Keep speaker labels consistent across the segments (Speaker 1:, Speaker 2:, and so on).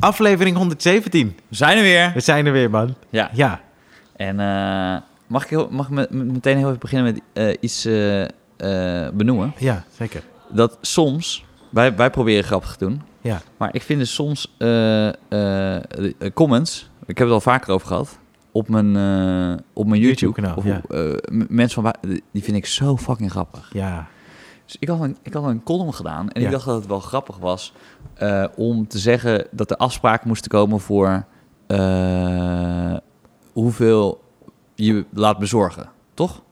Speaker 1: Aflevering 117.
Speaker 2: We zijn er weer.
Speaker 1: We zijn er weer, man.
Speaker 2: Ja.
Speaker 1: Ja.
Speaker 2: En eh, mag ik, heel, mag ik me- me- meteen heel even beginnen met eh, iets eh, eh, benoemen?
Speaker 1: Ja, zeker.
Speaker 2: Dat soms, wij, wij proberen grappig te doen,
Speaker 1: Ja.
Speaker 2: maar ik vind dus soms eh, eh, eh, comments, ik heb het al vaker over gehad, op mijn, eh, op mijn YouTube,
Speaker 1: YouTube-kanaal,
Speaker 2: of
Speaker 1: ja.
Speaker 2: op, eh, m- mensen van, wa- die vind ik zo fucking grappig.
Speaker 1: Ja.
Speaker 2: Dus ik had een, ik had een column gedaan en
Speaker 1: Ja.
Speaker 2: ik dacht dat het wel grappig was eh, om te zeggen dat er afspraken moesten komen voor eh, hoeveel je laat bezorgen, toch?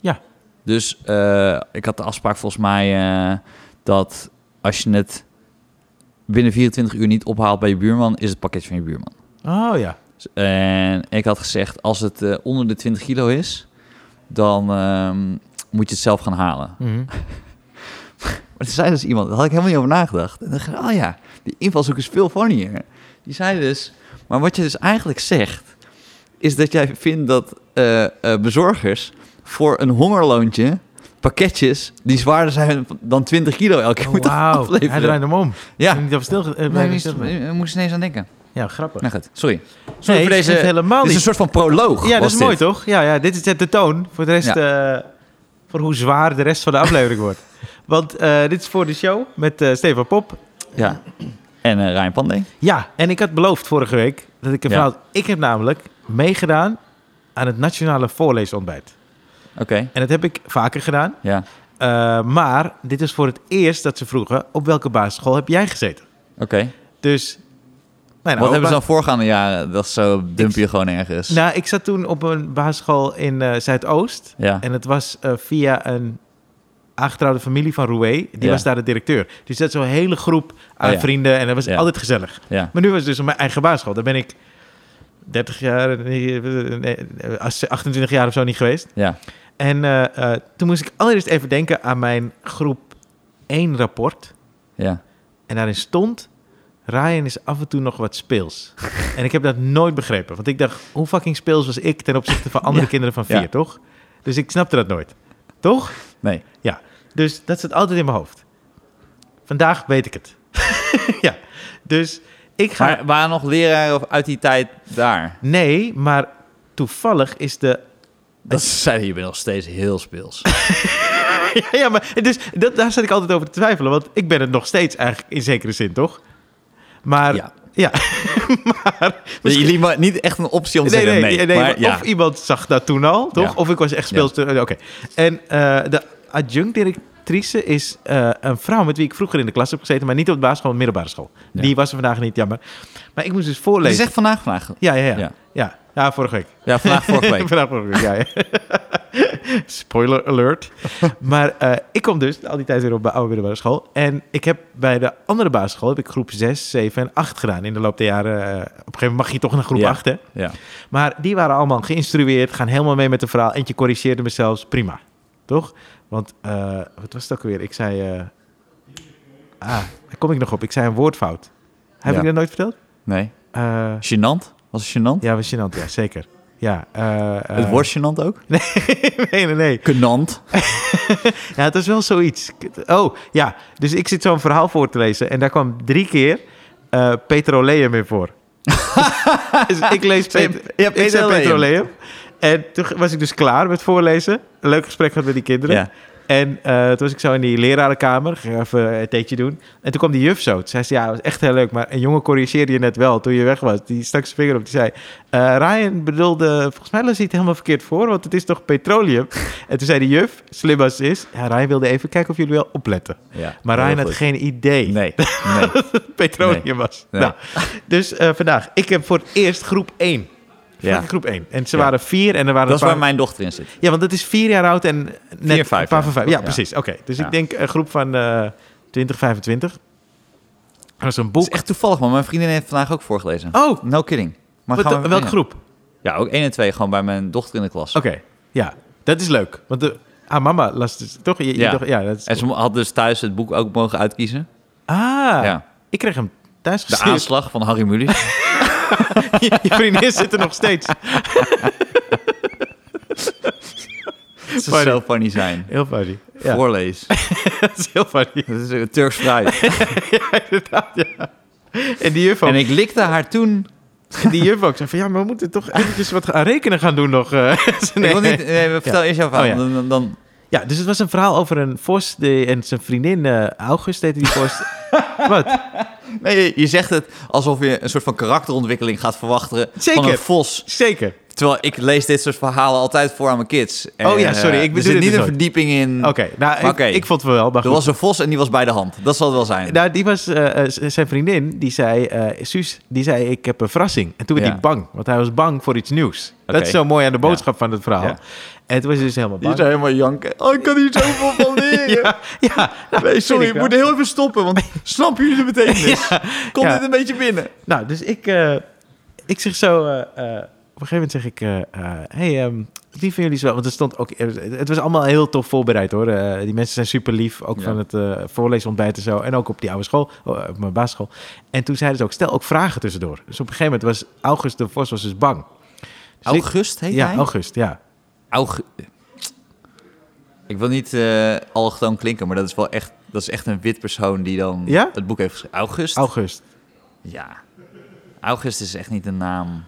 Speaker 1: Ja.
Speaker 2: Dus eh, ik had de afspraak volgens mij eh, dat als je het binnen 24 uur niet ophaalt bij je buurman, is het pakket van je buurman.
Speaker 1: Oh ja.
Speaker 2: En ik had gezegd, als het eh, onder de 20 kilo is, dan ehm, moet je het zelf gaan halen.
Speaker 1: Mhm.
Speaker 2: Maar er zei dus iemand, daar had ik helemaal niet over nagedacht. En dan dacht ik, oh ja, die invalshoek is veel funnier. Die zei dus, maar wat je dus eigenlijk zegt, is dat jij vindt dat eh, eh, bezorgers voor een hongerloontje pakketjes die zwaarder zijn dan 20 kilo elke keer
Speaker 1: Oh,
Speaker 2: moeten
Speaker 1: Wauw.
Speaker 2: afleveren.
Speaker 1: Hij draait hem om.
Speaker 2: Ja,
Speaker 1: Ik
Speaker 2: nee,
Speaker 1: heb niet stil. eh,
Speaker 2: daar
Speaker 1: blijven
Speaker 2: moest-
Speaker 1: stilstaan.
Speaker 2: daar moest ik ineens aan denken.
Speaker 1: ja, grappig.
Speaker 2: Nou goed, sorry.
Speaker 1: Nee,
Speaker 2: Sorry voor
Speaker 1: dit is
Speaker 2: deze, dit
Speaker 1: helemaal
Speaker 2: is een
Speaker 1: niet.
Speaker 2: soort van proloog.
Speaker 1: Ja, dat
Speaker 2: was
Speaker 1: is mooi
Speaker 2: dit.
Speaker 1: toch? Ja, ja, dit zet de toon. Voor de rest, eh, voor hoe zwaar de rest van de aflevering wordt. Want eh, dit is voor de show met eh, Stefan Pop.
Speaker 2: Ja. En eh Ryan Pandey.
Speaker 1: Ja, en ik had beloofd vorige week dat ik een
Speaker 2: Ja.
Speaker 1: verhaal... Ik heb namelijk meegedaan aan het Nationale Voorleesontbijt.
Speaker 2: Oké,
Speaker 1: En dat heb ik vaker gedaan.
Speaker 2: ja.
Speaker 1: Eh, maar dit is voor het eerst dat ze vroegen... op welke basisschool heb jij gezeten?
Speaker 2: Oké.
Speaker 1: Dus... mijn
Speaker 2: Wat
Speaker 1: opa-
Speaker 2: hebben ze dan voorgaande jaren? Dat zo dump je gewoon ergens.
Speaker 1: Nou, ik zat toen op een basisschool in eh, Zuidoost.
Speaker 2: ja.
Speaker 1: En het was eh, via een aangetrouwde familie van Roué. Die
Speaker 2: Ja.
Speaker 1: was daar de directeur. Dus dat zo'n hele groep aan
Speaker 2: Oh ja.
Speaker 1: vrienden. En dat was
Speaker 2: Ja.
Speaker 1: altijd gezellig.
Speaker 2: ja.
Speaker 1: Maar nu was het dus op mijn eigen basisschool. Daar ben ik 30 jaar, eh, nee, nee, 28 jaar of zo niet geweest.
Speaker 2: Ja.
Speaker 1: En eh, eh, toen moest ik allereerst even denken aan mijn groep 1 rapport.
Speaker 2: Ja.
Speaker 1: En daarin stond... Ryan is af en toe nog wat speels. en ik heb dat nooit begrepen. Want ik dacht, hoe fucking speels was ik ten opzichte van andere
Speaker 2: Ja.
Speaker 1: kinderen van vier,
Speaker 2: Ja.
Speaker 1: toch? Dus ik snapte dat nooit. Toch?
Speaker 2: Nee.
Speaker 1: Dus dat zit altijd in mijn hoofd. Vandaag weet ik het. ja. Dus ik ga...
Speaker 2: Maar waren nog leraren of uit die tijd daar?
Speaker 1: Nee, maar toevallig is de.
Speaker 2: Dat zeiden je bent nog steeds heel speels.
Speaker 1: ja, maar dus, dat, daar zat ik altijd over te twijfelen. Want ik ben het nog steeds eigenlijk in zekere zin, toch? Maar.
Speaker 2: Ja. Dus
Speaker 1: ja.
Speaker 2: Jullie liet maar niet echt een optie om te
Speaker 1: Nee, nee,
Speaker 2: zeggen nee.
Speaker 1: nee, nee,
Speaker 2: maar, ja.
Speaker 1: Of iemand zag dat toen al, toch?
Speaker 2: Ja.
Speaker 1: Of ik was echt speels. te- Oké. En eh, de adjunct-directrice is eh, een vrouw met wie ik vroeger in de klas heb gezeten, maar niet op de basisschool, maar middelbare school.
Speaker 2: Ja.
Speaker 1: Die was er vandaag niet, jammer. Maar ik moest dus
Speaker 2: Het is
Speaker 1: voorlezen.
Speaker 2: echt vandaag, vandaag.
Speaker 1: Ja, ja, ja, ja.
Speaker 2: Ja.
Speaker 1: Ja, vorige week.
Speaker 2: Ja, vandaag, vorige week.
Speaker 1: Vandaag vorige week, ja. ja. Spoiler alert. maar eh, ik kom dus al die tijd weer op mijn oude middelbare school. En ik heb bij de andere basisschool heb ik groep 6, 7 en 8 gedaan. In de loop der jaren, eh, op een gegeven moment mag je toch naar groep
Speaker 2: Ja.
Speaker 1: 8, hè?
Speaker 2: Ja.
Speaker 1: Maar die waren allemaal geïnstrueerd, gaan helemaal mee met de verhaal. Eentje corrigeerde me zelfs, prima. Toch? Want, eh, wat was het ook alweer? Ik zei... eh, ah, daar kom ik nog op. Ik zei een woordfout. Heb
Speaker 2: Ja.
Speaker 1: ik dat nooit verteld?
Speaker 2: Nee.
Speaker 1: Eh,
Speaker 2: Gênant? Was het gênant?
Speaker 1: ja, was gênant, ja, zeker. Ja, eh, eh,
Speaker 2: Het wordt gênant ook?
Speaker 1: nee, nee, nee.
Speaker 2: Genant.
Speaker 1: Ja, het is wel zoiets. Oh, ja. Dus ik zit zo'n verhaal voor te lezen. En daar kwam drie keer eh petroleum in voor. dus ik lees pet-
Speaker 2: Pe- ja,
Speaker 1: ik zei
Speaker 2: petroleum.
Speaker 1: petroleum. En toen was ik dus klaar met voorlezen. Een leuk gesprek gehad met die kinderen.
Speaker 2: Ja.
Speaker 1: En eh, toen was ik zo in die lerarenkamer, ging even een theetje doen. En toen kwam die juf zo. Toen zei ze, ja, dat was echt heel leuk. Maar een jongen corrigeerde je net wel toen je weg was. Die stak zijn vinger op. Die zei, eh, Ryan bedoelde, volgens mij las hij het helemaal verkeerd voor. Want het is toch petroleum? en toen zei die juf, slim als ze is. Ja, Ryan wilde even kijken of jullie wel opletten.
Speaker 2: Ja.
Speaker 1: Maar
Speaker 2: heel
Speaker 1: Ryan had
Speaker 2: goed.
Speaker 1: geen idee
Speaker 2: Nee. Nee.
Speaker 1: dat het petroleum
Speaker 2: Nee.
Speaker 1: was.
Speaker 2: Nee.
Speaker 1: Nou, dus eh, vandaag, ik heb voor het eerst groep 1.
Speaker 2: Ja.
Speaker 1: Groep 1. En ze
Speaker 2: Ja.
Speaker 1: waren vier en er waren
Speaker 2: Dat is
Speaker 1: een paar...
Speaker 2: waar mijn dochter in zit.
Speaker 1: Ja, want het is vier jaar oud en net
Speaker 2: Vier, vijf
Speaker 1: een paar van
Speaker 2: jaar.
Speaker 1: vijf. Ja,
Speaker 2: Ja.
Speaker 1: precies. Oké, dus
Speaker 2: Ja.
Speaker 1: ik denk een groep van eh 20, 25. Dat is een
Speaker 2: Het
Speaker 1: boek.
Speaker 2: is echt toevallig, maar mijn vriendin heeft vandaag ook voorgelezen.
Speaker 1: Oh,
Speaker 2: No kidding. Maar
Speaker 1: wat,
Speaker 2: gaan we
Speaker 1: welke
Speaker 2: beginnen?
Speaker 1: groep? Oké,
Speaker 2: Ja, ook 1 en 2, gewoon bij mijn dochter in de klas.
Speaker 1: ja. Dat is leuk. Want de, haar mama las dus toch? Je, je
Speaker 2: Ja.
Speaker 1: dacht- ja dat is,
Speaker 2: En ze had dus thuis het boek ook mogen uitkiezen.
Speaker 1: ah,
Speaker 2: Ja.
Speaker 1: ik kreeg hem thuis
Speaker 2: De
Speaker 1: gestuurd.
Speaker 2: aanslag van Harry Mulisch.
Speaker 1: je vriendin zit er nog steeds.
Speaker 2: Het zou
Speaker 1: Funny.
Speaker 2: zo funny zijn.
Speaker 1: Heel funny. Ja,
Speaker 2: Voorlees.
Speaker 1: dat is heel funny.
Speaker 2: Dat is een Turks fruit.
Speaker 1: ja, inderdaad, ja. En die juf ook.
Speaker 2: En ik likte haar toen.
Speaker 1: En die juf ook zei van, ja, maar we moeten toch eventjes wat aan rekenen gaan doen nog. eh. Ze-
Speaker 2: Ik
Speaker 1: nee.
Speaker 2: wil niet, nee, vertel eerst jouw verhaal.
Speaker 1: Oh, ja.
Speaker 2: dan, dan, dan-
Speaker 1: Ja, dus het was een verhaal over een vos die, en zijn vriendin eh, August heette die vos. wat?
Speaker 2: nee, je- je zegt het alsof je een soort van karakterontwikkeling gaat verwachten van
Speaker 1: Zeker.
Speaker 2: een vos.
Speaker 1: Zeker.
Speaker 2: Terwijl ik lees dit soort verhalen altijd voor aan mijn kids. En,
Speaker 1: Oh ja, sorry,
Speaker 2: eh,
Speaker 1: ik
Speaker 2: er
Speaker 1: bedoel
Speaker 2: zit
Speaker 1: dit
Speaker 2: niet
Speaker 1: dus
Speaker 2: een
Speaker 1: nooit.
Speaker 2: verdieping in.
Speaker 1: Oké, nou, ik-
Speaker 2: Hm. Oké.
Speaker 1: Ik, vond het wel, maar
Speaker 2: Er
Speaker 1: goed.
Speaker 2: was een vos en die was bij de hand. Dat zal het wel zijn.
Speaker 1: Nou, die was eh, eh, z- zijn vriendin, die zei, eh, Suus, die zei, ik heb een verrassing. En toen werd
Speaker 2: Ja.
Speaker 1: hij bang, want hij was bang voor iets nieuws.
Speaker 2: Oké.
Speaker 1: Dat is zo mooi aan de boodschap van het verhaal.
Speaker 2: Ja.
Speaker 1: En toen was hij dus helemaal
Speaker 2: Die
Speaker 1: bang.
Speaker 2: is helemaal janken. Oh, ik kan hier zoveel van leren.
Speaker 1: ja, ja, nou,
Speaker 2: Nee,
Speaker 1: vind
Speaker 2: sorry,
Speaker 1: ik
Speaker 2: ik
Speaker 1: wel.
Speaker 2: moet heel even stoppen, want snap jullie de betekenis? Komt
Speaker 1: ja.
Speaker 2: dit een beetje binnen?
Speaker 1: Nou, dus ik, eh, ik zeg zo... eh, eh, op een gegeven moment zeg ik... eh, eh, hey, ehm, wie van jullie is wel... Want er stond ook... eh, Het was allemaal heel tof voorbereid, hoor. Eh, die mensen zijn super lief. Ook
Speaker 2: Ja.
Speaker 1: van het eh voorleesontbijt en zo. En ook op die oude school. oh, eh, op mijn basisschool. En toen zeiden ze ook... Stel ook vragen tussendoor. Dus op een gegeven moment was... August de Vos was dus bang. Dus ik-
Speaker 2: August heet
Speaker 1: ja,
Speaker 2: hij?
Speaker 1: August, ja.
Speaker 2: Aug- Ik wil niet eh allochtoon klinken, maar dat is wel echt, dat is echt een wit persoon die dan
Speaker 1: Ja?
Speaker 2: het boek heeft geschreven. August?
Speaker 1: August.
Speaker 2: ja. August is echt niet een naam.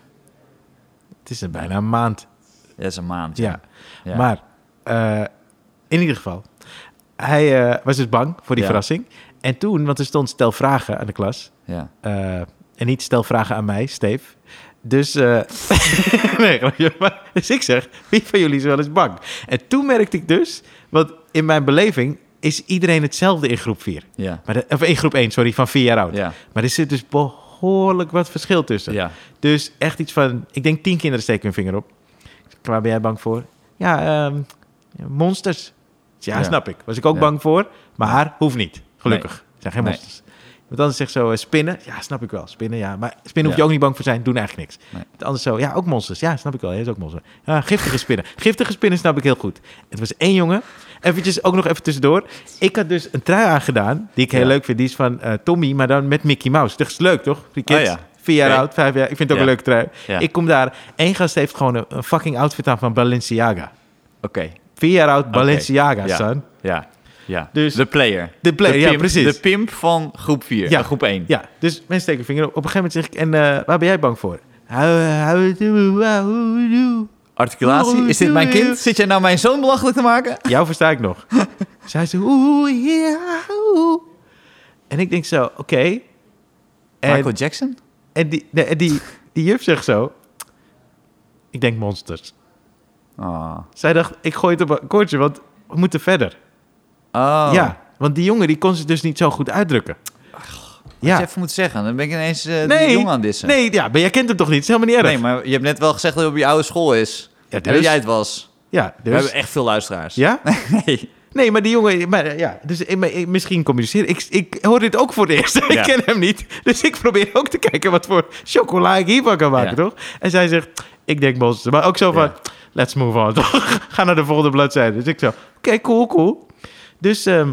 Speaker 1: Het is een bijna een maand.
Speaker 2: Dat is een maand.
Speaker 1: Ja.
Speaker 2: Ja.
Speaker 1: Maar eh, in ieder geval, hij eh, was dus bang voor die
Speaker 2: Ja.
Speaker 1: verrassing. En toen, want er stond stel vragen aan de klas.
Speaker 2: Ja.
Speaker 1: eh, en niet stel vragen aan mij, Steve. Dus, eh, nee, grapje. Maar- dus ik zeg, wie van jullie is wel eens bang? En toen merkte ik dus, want in mijn beleving is iedereen hetzelfde in groep 4.
Speaker 2: Ja.
Speaker 1: Maar de- of in groep 1, sorry, van 4 jaar oud.
Speaker 2: Ja.
Speaker 1: Maar er zit dus behoorlijk wat verschil tussen.
Speaker 2: Ja.
Speaker 1: Dus echt iets van, ik denk tien kinderen steken hun vinger op. Ik zeg, Waar ben jij bang voor? Ja, ehm, monsters. Ik zeg, Ja,
Speaker 2: Ja.
Speaker 1: snap ik. Was ik ook
Speaker 2: Ja.
Speaker 1: bang voor, maar hoeft niet. Gelukkig. Er zijn geen
Speaker 2: Nee.
Speaker 1: monsters. Want anders zegt zo, eh, spinnen. Ja, snap ik wel. Spinnen, ja. Maar spinnen hoef je
Speaker 2: Ja.
Speaker 1: ook niet bang voor te zijn. Doen eigenlijk niks.
Speaker 2: Nee.
Speaker 1: Het Anders zo, ja, ook monsters. Ja, snap ik wel. Hij is ook monster. Ja, giftige spinnen. Giftige spinnen snap ik heel goed. Het was één jongen. Eventjes, ook nog even tussendoor. Ik had dus een trui aangedaan, die ik heel
Speaker 2: Ja.
Speaker 1: leuk vind. Die is van eh, Tommy, maar dan met Mickey Mouse. Dat is leuk, toch? Voor die kids.
Speaker 2: Oh ja.
Speaker 1: Vier jaar
Speaker 2: Oké.
Speaker 1: oud, vijf jaar. Ik vind het ook
Speaker 2: Ja.
Speaker 1: een leuke trui.
Speaker 2: Ja.
Speaker 1: Ik kom daar. Eén gast heeft gewoon een, een fucking outfit aan van Balenciaga.
Speaker 2: Oké.
Speaker 1: Vier jaar oud Balenciaga,
Speaker 2: Ja.
Speaker 1: son.
Speaker 2: Ja. Ja.
Speaker 1: Dus-
Speaker 2: de player.
Speaker 1: De player, ja,
Speaker 2: pimp,
Speaker 1: precies.
Speaker 2: De pimp van groep 4.
Speaker 1: Ja.
Speaker 2: Ja. Groep 1.
Speaker 1: Ja, dus mensen steken hun vinger op. Op een gegeven moment zeg ik, en eh, waar ben jij bang voor? How, how do, how do.
Speaker 2: Articulatie. Is dit mijn kind? Zit jij nou mijn zoon belachelijk te maken?
Speaker 1: Jou versta ik nog. Zij ze, oeh, ja, oeh. En ik denk zo, oké. En,
Speaker 2: Michael Jackson?
Speaker 1: en, die, nee, en die, die juf zegt zo, ik denk monsters.
Speaker 2: Oh.
Speaker 1: Zij dacht, ik gooi het op een koordje, want we moeten verder.
Speaker 2: oh.
Speaker 1: Ja, want die jongen die kon ze dus niet zo goed uitdrukken.
Speaker 2: Als
Speaker 1: ja.
Speaker 2: je even moet zeggen, dan ben ik ineens eh die
Speaker 1: nee,
Speaker 2: jongen aan het dissen.
Speaker 1: nee, ja, maar jij kent hem toch niet? Het is helemaal niet erg.
Speaker 2: Nee, maar je hebt net wel gezegd dat hij op je oude school is.
Speaker 1: Ja,
Speaker 2: En
Speaker 1: dus?
Speaker 2: dat jij het was.
Speaker 1: Ja,
Speaker 2: We
Speaker 1: dus...
Speaker 2: hebben echt veel luisteraars.
Speaker 1: Ja?
Speaker 2: Nee.
Speaker 1: Nee, maar die jongen, maar, eh, ja, dus eh, maar, eh, misschien communiceren. Ik, ik hoor dit ook voor het eerst. ik
Speaker 2: Ja.
Speaker 1: ken hem niet. Dus ik probeer ook te kijken wat voor chocola ik hiervan kan maken,
Speaker 2: Ja.
Speaker 1: toch? En zij zegt, ik denk monster. Maar ook zo van, let's move on, toch? Ga naar de volgende bladzijde. Dus ik zo, oké, cool, cool. Dus ehm,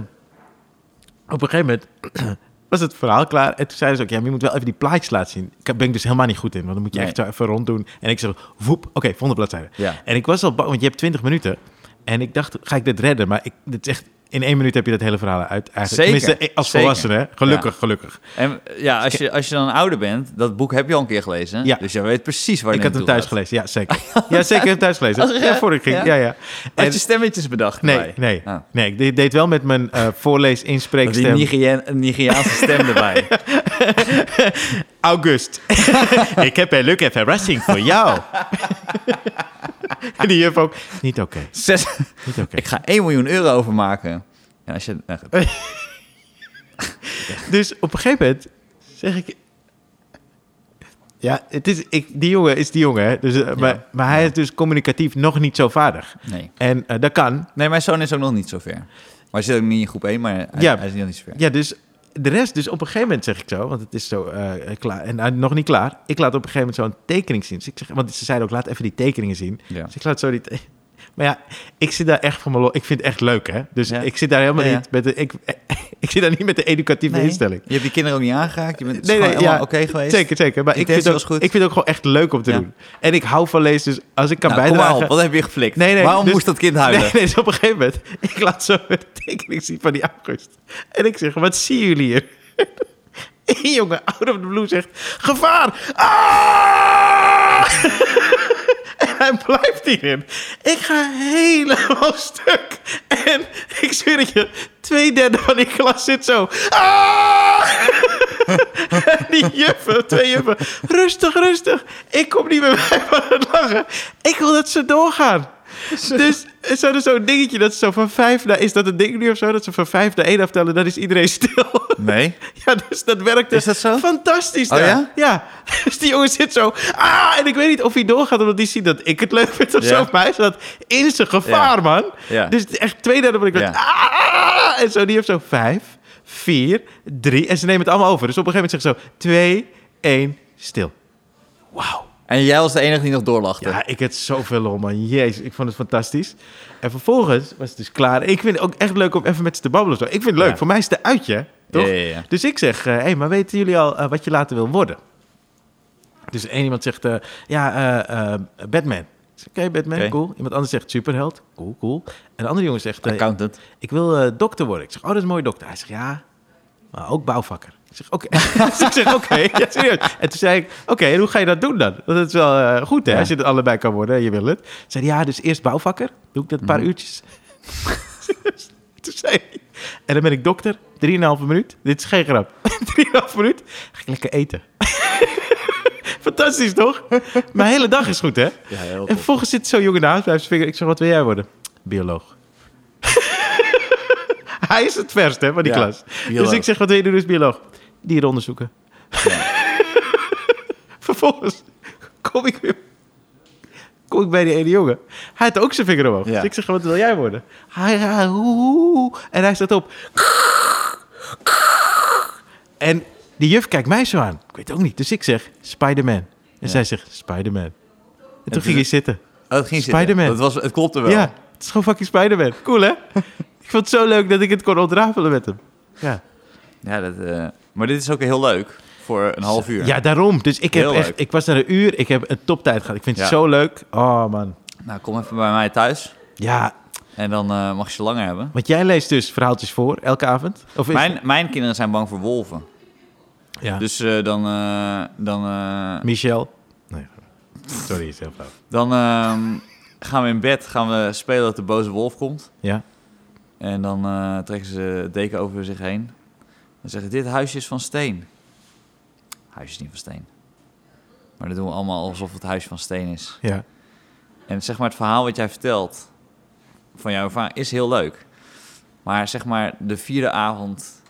Speaker 1: op een gegeven moment was het verhaal klaar. En toen zeiden ze ook, ja, maar je moet wel even die plaatjes laten zien. Daar ben ik dus helemaal niet goed in, want dan moet je
Speaker 2: Nee.
Speaker 1: echt zo even rond doen. En ik zeg, woep, oké, volgende bladzijde.
Speaker 2: Ja.
Speaker 1: En ik was al bang, want je hebt 20 minuten. En ik dacht, ga ik dit redden? Maar ik, dit is echt, in één minuut heb je dat hele verhaal uit. Eigenlijk.
Speaker 2: Zeker,
Speaker 1: Tenminste, eh, als
Speaker 2: zeker.
Speaker 1: volwassene. hè. Gelukkig, gelukkig.
Speaker 2: En eh, ja, als je, als je dan ouder bent, dat boek heb je al een keer gelezen.
Speaker 1: Ja.
Speaker 2: Dus je weet precies waar je
Speaker 1: ik had hem
Speaker 2: naartoe
Speaker 1: thuis
Speaker 2: gaat.
Speaker 1: gelezen. Ja, zeker. ja, zeker. Ik heb hem thuis
Speaker 2: Als
Speaker 1: gelezen.
Speaker 2: er-
Speaker 1: Ja, voor ik ging. Ja,
Speaker 2: Oh, ja?
Speaker 1: ja. En-
Speaker 2: Had je stemmetjes bedacht?
Speaker 1: nee,
Speaker 2: erbij?
Speaker 1: nee.
Speaker 2: Ah.
Speaker 1: Nee, ik de- deed wel met mijn eh voorlees
Speaker 2: Dat die
Speaker 1: inspreekstem.
Speaker 2: Nigerian- een Nigeriaanse stem erbij.
Speaker 1: August, ik heb eh, een leuke verrassing voor jou. en die juf ook, niet oké,
Speaker 2: Zes,
Speaker 1: niet oké.
Speaker 2: ik ga 1 miljoen euro overmaken. En als je... nou goed.
Speaker 1: Dus op een gegeven moment zeg ik... Ja, het is, ik, die jongen is die jongen, hè. Dus, eh, maar, maar hij is dus communicatief nog niet zo vaardig.
Speaker 2: Nee.
Speaker 1: En eh, dat kan,
Speaker 2: nee, mijn zoon is ook nog niet zo ver. Maar hij zit ook niet in groep 1, maar hij,
Speaker 1: Ja.
Speaker 2: hij is nog niet zo ver.
Speaker 1: Ja, dus de rest, dus op een gegeven moment zeg ik zo, want het is zo eh, klaar en eh, nog niet klaar. Ik laat op een gegeven moment zo een tekening zien. Dus ik zeg, want ze zeiden ook, laat even die tekeningen zien.
Speaker 2: Ja.
Speaker 1: Dus ik laat zo die. te- Maar ja, ik zit daar echt van mijn lol. Ik vind het echt leuk, hè? Dus
Speaker 2: Ja.
Speaker 1: ik zit daar helemaal
Speaker 2: Ja, ja.
Speaker 1: niet met de. Ik, ik zit daar niet met de educatieve
Speaker 2: Nee.
Speaker 1: instelling.
Speaker 2: Je hebt die kinderen ook niet aangeraakt. Je bent nee, nee,
Speaker 1: ja,
Speaker 2: oké geweest.
Speaker 1: Zeker, zeker. Maar ik vind,
Speaker 2: Intentie
Speaker 1: ook,
Speaker 2: was goed.
Speaker 1: ik vind het ook gewoon echt leuk om te
Speaker 2: Ja.
Speaker 1: doen. En ik hou van lezen, dus als ik kan
Speaker 2: Nou, kom maar
Speaker 1: bijdragen...
Speaker 2: op, wat heb je geflikt?
Speaker 1: Nee, nee,
Speaker 2: Waarom
Speaker 1: dus-
Speaker 2: moest dat kind huilen?
Speaker 1: Nee, nee, dus op een gegeven moment, ik laat zo een tekening zien van die August. En ik zeg, wat zien jullie hier? één jongen out of the blue zegt: Gevaar! Ah! en hij blijft hierin. Ik ga helemaal stuk. En ik zweer het je, twee derde van die klas zit zo. Ah! en die juffen, twee juffen. Rustig, rustig. Ik kom niet meer bij van het lachen. Ik wil dat ze doorgaan. Dus ze hadden zo'n dingetje dat ze zo van vijf naar... Is dat een ding nu of zo? Dat ze van vijf naar één aftellen, dan is iedereen stil.
Speaker 2: Nee?
Speaker 1: Ja, dus dat werkte.
Speaker 2: Is dat zo?
Speaker 1: Fantastisch.
Speaker 2: Oh
Speaker 1: daar.
Speaker 2: ja?
Speaker 1: Dus die jongen zit zo. Ah, en ik weet niet of hij doorgaat omdat hij ziet dat ik het leuk vind of
Speaker 2: Ja.
Speaker 1: zo. Maar hij zat in zijn gevaar,
Speaker 2: Ja.
Speaker 1: man.
Speaker 2: Ja.
Speaker 1: Dus echt twee derde van ik dacht,
Speaker 2: Ja.
Speaker 1: ah, en zo. Die heeft zo vijf, vier, drie. En ze nemen het allemaal over. Dus op een gegeven moment zegt ze zo twee, één, stil. Wauw.
Speaker 2: En jij was de enige die nog doorlachte.
Speaker 1: Ja, ik had zoveel lol, man. Jezus, ik vond het fantastisch. En vervolgens was het dus klaar. Ik vind het ook echt leuk om even met ze te babbelen. of zo. Ik vind het leuk.
Speaker 2: Ja.
Speaker 1: Voor mij is het een uitje, toch?
Speaker 2: Ja, ja, ja.
Speaker 1: Dus ik zeg, hé, hey, maar weten jullie al eh, wat je later wil worden? Dus één iemand zegt, eh, ja, eh, eh, Batman. Ik zeg, Oké, Batman,
Speaker 2: Oké.
Speaker 1: cool. Iemand anders zegt superheld. Cool, cool. En een andere jongen zegt, eh,
Speaker 2: Accountant.
Speaker 1: ik wil eh, dokter worden. Ik zeg, oh, dat is een mooie dokter. Hij zegt, ja, maar ook bouwvakker. Ik zeg, oké. dus ik zeg, oké. Ja, serieus. En toen zei ik, oké, en hoe ga je dat doen dan? Want dat is wel eh, goed, hè,
Speaker 2: Ja.
Speaker 1: als je het allebei kan worden en je wil het. Toen zei hij, ja, dus eerst bouwvakker. Doe ik dat een
Speaker 2: Mhm.
Speaker 1: paar uurtjes. toen zei hij, en dan ben ik dokter. 3,5 minuut. Dit is geen grap. 3,5 minuut. Ga ik lekker eten. Fantastisch, toch? Mijn hele dag is goed, hè?
Speaker 2: Ja, heel
Speaker 1: En vervolgens zit zo'n jongen naast mij op zijn vinger. Ik zeg, wat wil jij worden? Bioloog. Hij is het verst, hè, van die
Speaker 2: Ja,
Speaker 1: klas.
Speaker 2: bioloog.
Speaker 1: Dus ik zeg, wat wil je doen als bioloog? Dieren onderzoeken. vervolgens kom ik weer... Kom ik bij die ene jongen. Hij had ook zijn vinger omhoog.
Speaker 2: Ja.
Speaker 1: Dus ik zeg, wat wil jij worden? Hij, hij, hoe, hoe, hoe. En hij staat op. En die juf kijkt mij zo aan. Ik weet het ook niet. Dus ik zeg, Spider-Man. En zij zegt, Spider-Man. En, toen
Speaker 2: toen-
Speaker 1: ging hij zitten.
Speaker 2: Oh, het ging zitten.
Speaker 1: Spider-Man.
Speaker 2: Dat was, het klopte wel.
Speaker 1: Ja, het is gewoon fucking Spider-Man. Cool, hè? ik vond het zo leuk dat ik het kon ontrafelen met hem. Ja,
Speaker 2: Ja, dat, eh, maar dit is ook heel leuk voor een half uur.
Speaker 1: ja daarom. Dus ik, heb
Speaker 2: Heel
Speaker 1: echt,
Speaker 2: leuk.
Speaker 1: ik was naar een uur. Ik heb een toptijd gehad. Ik vind het
Speaker 2: Ja.
Speaker 1: zo leuk. Oh, man.
Speaker 2: Nou, kom even bij mij thuis
Speaker 1: Ja,
Speaker 2: en dan eh, mag je ze langer hebben.
Speaker 1: want jij leest dus verhaaltjes voor elke avond? Of is
Speaker 2: Mijn, mijn kinderen zijn bang voor wolven.
Speaker 1: Ja.
Speaker 2: Dus eh, dan, eh, dan, eh,
Speaker 1: Michel? Nee, sorry, is heel flauw.
Speaker 2: dan ehm, gaan we in bed gaan we spelen dat de boze wolf komt.
Speaker 1: Ja.
Speaker 2: En dan eh, trekken ze het deken over zich heen. Dan zeggen dit huisje is van steen. Huisje is niet van steen. Maar dat doen we allemaal alsof het huisje van steen is.
Speaker 1: Ja.
Speaker 2: En zeg maar, het verhaal wat jij vertelt van jouw ervaring is heel leuk. Maar zeg maar, de vierde avond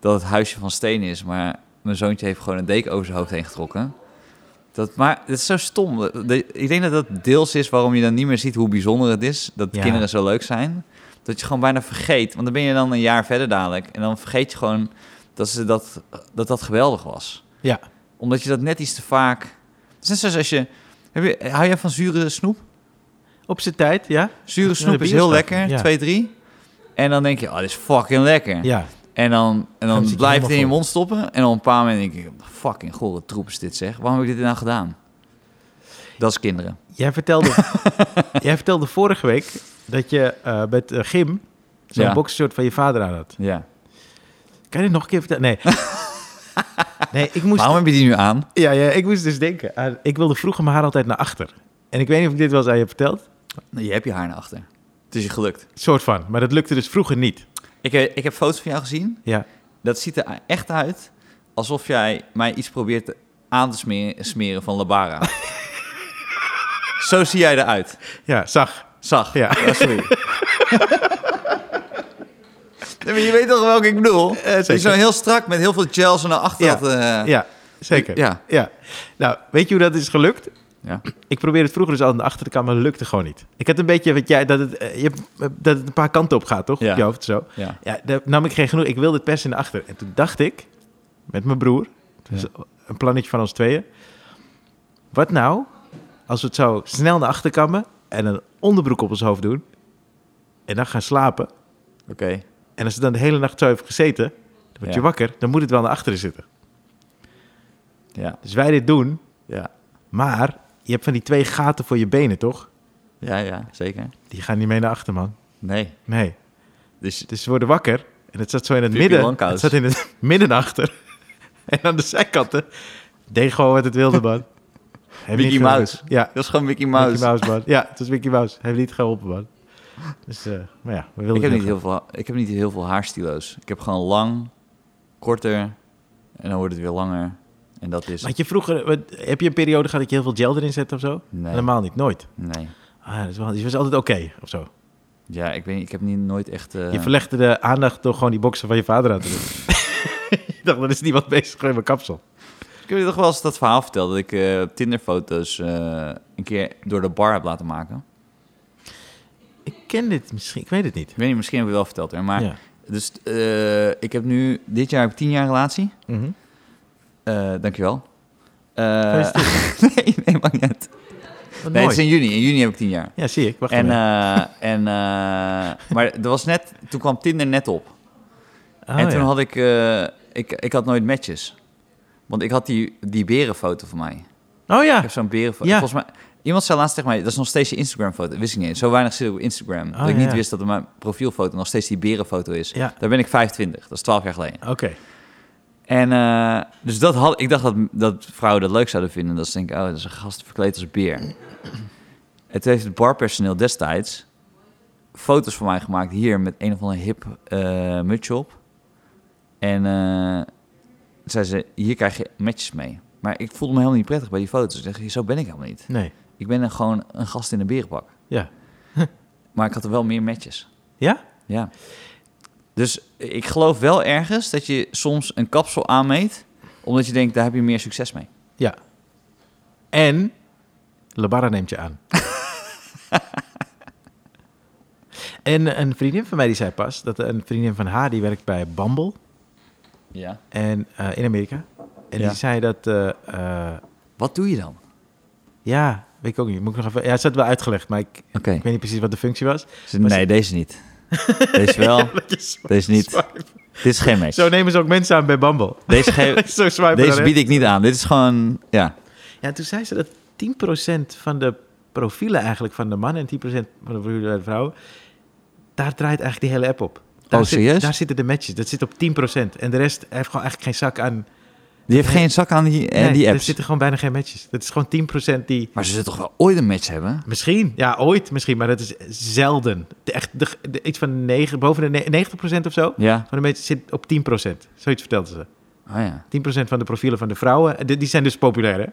Speaker 2: dat het huisje van steen is, maar mijn zoontje heeft gewoon een deken over zijn hoofd heen getrokken. Dat, maar het is zo stom. Dat- dat- Ik denk dat dat deels is waarom je dan niet meer ziet hoe bijzonder het is dat
Speaker 1: Ja.
Speaker 2: kinderen zo leuk zijn. Dat je gewoon bijna vergeet. Want dan ben je dan een jaar verder dadelijk. En dan vergeet je gewoon dat ze dat, dat, dat geweldig was
Speaker 1: Ja.
Speaker 2: omdat je dat net iets te vaak. Het is net zoals als je. Heb je hou jij van zure snoep?
Speaker 1: Op zijn tijd, ja?
Speaker 2: Zure
Speaker 1: de
Speaker 2: snoep is heel
Speaker 1: bierstap,
Speaker 2: lekker,
Speaker 1: ja.
Speaker 2: 2, 3. En dan denk je, oh, dit is fucking lekker.
Speaker 1: Ja.
Speaker 2: En dan, en
Speaker 1: dan
Speaker 2: dan
Speaker 1: zit je
Speaker 2: blijft het in je
Speaker 1: helemaal vol.
Speaker 2: mond stoppen. En op een paar moment denk je, fucking gore troep is dit zeg. Waarom heb ik dit nou gedaan? Dat is kinderen.
Speaker 1: Jij vertelde, jij vertelde vorige week dat je eh, met eh, Gim zo'n
Speaker 2: Ja.
Speaker 1: boxershort van je vader aan had.
Speaker 2: Ja.
Speaker 1: Kan je dit nog een keer vertellen? Nee. nee, ik moest,
Speaker 2: Waarom heb je die nu aan?
Speaker 1: ja, ja, ik moest dus denken. aan- ik wilde vroeger mijn haar altijd naar achter. En ik weet niet of ik dit wel eens aan je heb verteld.
Speaker 2: Nou, je hebt je haar naar achter. Het is je gelukt.
Speaker 1: Soort van. Maar dat lukte dus vroeger niet.
Speaker 2: Ik, eh, ik heb foto's van jou gezien.
Speaker 1: Ja.
Speaker 2: Dat ziet er echt uit alsof jij mij iets probeert te- aan te smeren, smeren van Labara. Zo zie jij eruit.
Speaker 1: Ja, zag.
Speaker 2: Zag.
Speaker 1: Ja.
Speaker 2: Oh, sorry. Nee, maar je weet toch welke ik bedoel?
Speaker 1: zeker.
Speaker 2: Die zo heel strak met heel veel gels en naar achter
Speaker 1: Ja.
Speaker 2: had. eh,
Speaker 1: Ja, zeker.
Speaker 2: Ja.
Speaker 1: ja. Nou, weet je hoe dat is gelukt?
Speaker 2: ja.
Speaker 1: Ik probeerde het vroeger dus altijd naar achter te komen, maar het lukte gewoon niet. Ik had een beetje, wat jij, dat, het, eh, je, hebt- dat het een paar kanten op gaat, toch?
Speaker 2: Ja.
Speaker 1: Op je hoofd zo.
Speaker 2: Ja.
Speaker 1: Ja, daar nam ik geen genoeg. Ik wilde het pers in de achter. En toen dacht ik, met mijn broer, dus een plannetje van ons tweeën. Wat nou als we het zo snel naar achter kammen en een onderbroek op ons hoofd doen. En dan gaan slapen.
Speaker 2: Oké.
Speaker 1: En als het dan de hele nacht zo heeft gezeten, dan word je
Speaker 2: Ja.
Speaker 1: wakker. Dan moet het wel naar achteren zitten.
Speaker 2: Ja.
Speaker 1: Dus wij dit doen,
Speaker 2: Ja.
Speaker 1: maar je hebt van die twee gaten voor je benen, toch?
Speaker 2: Ja, ja, zeker.
Speaker 1: Die gaan niet mee naar achter, man.
Speaker 2: Nee.
Speaker 1: Nee.
Speaker 2: Dus
Speaker 1: Dus ze worden wakker en het zat zo in het
Speaker 2: Pippi
Speaker 1: midden.
Speaker 2: Langkous.
Speaker 1: Het zat in het midden naar achter. En En aan de zijkanten deed gewoon wat het wilde, man. Heeft
Speaker 2: Mickey
Speaker 1: niet geholpen.
Speaker 2: Mouse.
Speaker 1: Ja,
Speaker 2: Dat is gewoon Mickey Mouse.
Speaker 1: Mickey Mouse, man. Ja, het was Mickey Mouse. Heeft niet geholpen, man. Dus, eh, maar ja, we wilden
Speaker 2: Ik heb,
Speaker 1: het
Speaker 2: niet heel veel, ha- ik heb niet heel veel haarstilo's. Ik heb gewoon lang, korter en dan wordt het weer langer. En dat is...
Speaker 1: Had je vroeger, wat- heb je een periode gehad dat je heel veel gel erin zette of zo?
Speaker 2: Nee,
Speaker 1: Helemaal niet, nooit.
Speaker 2: nee.
Speaker 1: Ah, dat is wel, je was altijd oké of zo.
Speaker 2: Ja, ik, weet, niet, ik heb niet, nooit echt... eh,
Speaker 1: Je verlegde de aandacht door gewoon die boksen van je vader aan te doen. ik dacht, dan is niemand bezig met mijn kapsel.
Speaker 2: Ik heb je toch wel eens dat verhaal verteld dat ik eh, Tinderfoto's eh, een keer door de bar heb laten maken.
Speaker 1: Ik ken dit misschien, ik weet het niet.
Speaker 2: Ik weet niet, misschien heb ik het wel verteld, hè, maar
Speaker 1: Ja.
Speaker 2: dus eh, ik heb nu dit jaar heb ik tien jaar relatie.
Speaker 1: Mhm.
Speaker 2: Eh, dankjewel. Eh,
Speaker 1: Gefeliciteerd.
Speaker 2: nee, nee, maakt niet. uit.
Speaker 1: Wat
Speaker 2: Nee, het
Speaker 1: mooi.
Speaker 2: is in juni. In juni heb ik tien jaar.
Speaker 1: Ja, zie ik. Wacht
Speaker 2: En,
Speaker 1: even.
Speaker 2: eh, en, eh, maar er was net, toen kwam Tinder net op.
Speaker 1: Oh,
Speaker 2: en toen
Speaker 1: ja.
Speaker 2: had ik, eh, ik, ik had nooit matches. Want ik had die, die berenfoto van mij.
Speaker 1: oh ja.
Speaker 2: Ik heb zo'n berenfoto.
Speaker 1: Ja.
Speaker 2: Volgens mij, iemand zei laatst tegen mij, dat is nog steeds je Instagram-foto. Wist ik niet. eens. Zo weinig zit ik op Instagram.
Speaker 1: Oh,
Speaker 2: dat ik
Speaker 1: ja.
Speaker 2: niet wist dat mijn profielfoto nog steeds die berenfoto is.
Speaker 1: Ja.
Speaker 2: Daar ben ik 25. Dat is 12 jaar geleden.
Speaker 1: Oké.
Speaker 2: En eh, dus dat had, ik dacht dat, dat vrouwen dat leuk zouden vinden. Dat ze denken, oh, dat is een gast verkleed als een beer. En toen heeft het barpersoneel destijds foto's van mij gemaakt hier met een of andere hip eh mutsje op. En eh zei ze, hier krijg je matches mee. Maar ik voelde me helemaal niet prettig bij die foto's. Ik dacht, zo ben ik helemaal niet.
Speaker 1: Nee.
Speaker 2: Ik ben een- gewoon een gast in een berenpak.
Speaker 1: Ja.
Speaker 2: Maar ik had er wel meer matches.
Speaker 1: Ja?
Speaker 2: Ja. Dus ik geloof wel ergens dat je soms een kapsel aanmeet, omdat je denkt, daar heb je meer succes mee.
Speaker 1: Ja. En Labara neemt je aan. en een vriendin van mij die zei pas dat een vriendin van haar die werkt bij Bumble
Speaker 2: Ja.
Speaker 1: en, eh, in Amerika. En
Speaker 2: Ja.
Speaker 1: die zei dat, eh, eh,
Speaker 2: Wat doe je dan?
Speaker 1: ja, weet ik ook niet. Moet ik nog even, ja, het had wel uitgelegd, maar ik,
Speaker 2: Oké. Dus
Speaker 1: ik weet niet precies wat de functie was.
Speaker 2: Nee, deze niet. Deze wel.
Speaker 1: Dat je swipe-
Speaker 2: Deze niet.
Speaker 1: swipe.
Speaker 2: Dit is geen match.
Speaker 1: Zo nemen ze ook mensen aan bij Bumble.
Speaker 2: Deze, ge-
Speaker 1: Zo swipen
Speaker 2: deze
Speaker 1: dan
Speaker 2: bied ik niet aan. Dit is gewoon, ja.
Speaker 1: Ja, toen zei ze dat 10% van de profielen eigenlijk van de mannen en 10% van de profielen van de vrouwen, daar draait eigenlijk die hele app op. Daar
Speaker 2: Oh,
Speaker 1: zit-
Speaker 2: serieus?
Speaker 1: Daar zitten de matches. Dat zit op 10%. En de rest heeft gewoon eigenlijk geen zak aan.
Speaker 2: Die heeft geen zak aan die, eh,
Speaker 1: Nee,
Speaker 2: die
Speaker 1: Er
Speaker 2: apps.
Speaker 1: zitten gewoon bijna geen matches. Dat is gewoon 10% die...
Speaker 2: Maar ze zullen toch wel ooit een match hebben?
Speaker 1: Misschien, ja, ooit misschien, maar dat is zelden. De- Echt de, de- iets van 9, boven de ne- 90% of zo. Van
Speaker 2: Ja.
Speaker 1: de matches zit op 10%. Zoiets vertelde ze.
Speaker 2: Oh ja.
Speaker 1: 10% van de profielen van de vrouwen, eh, die die zijn dus populair, hè?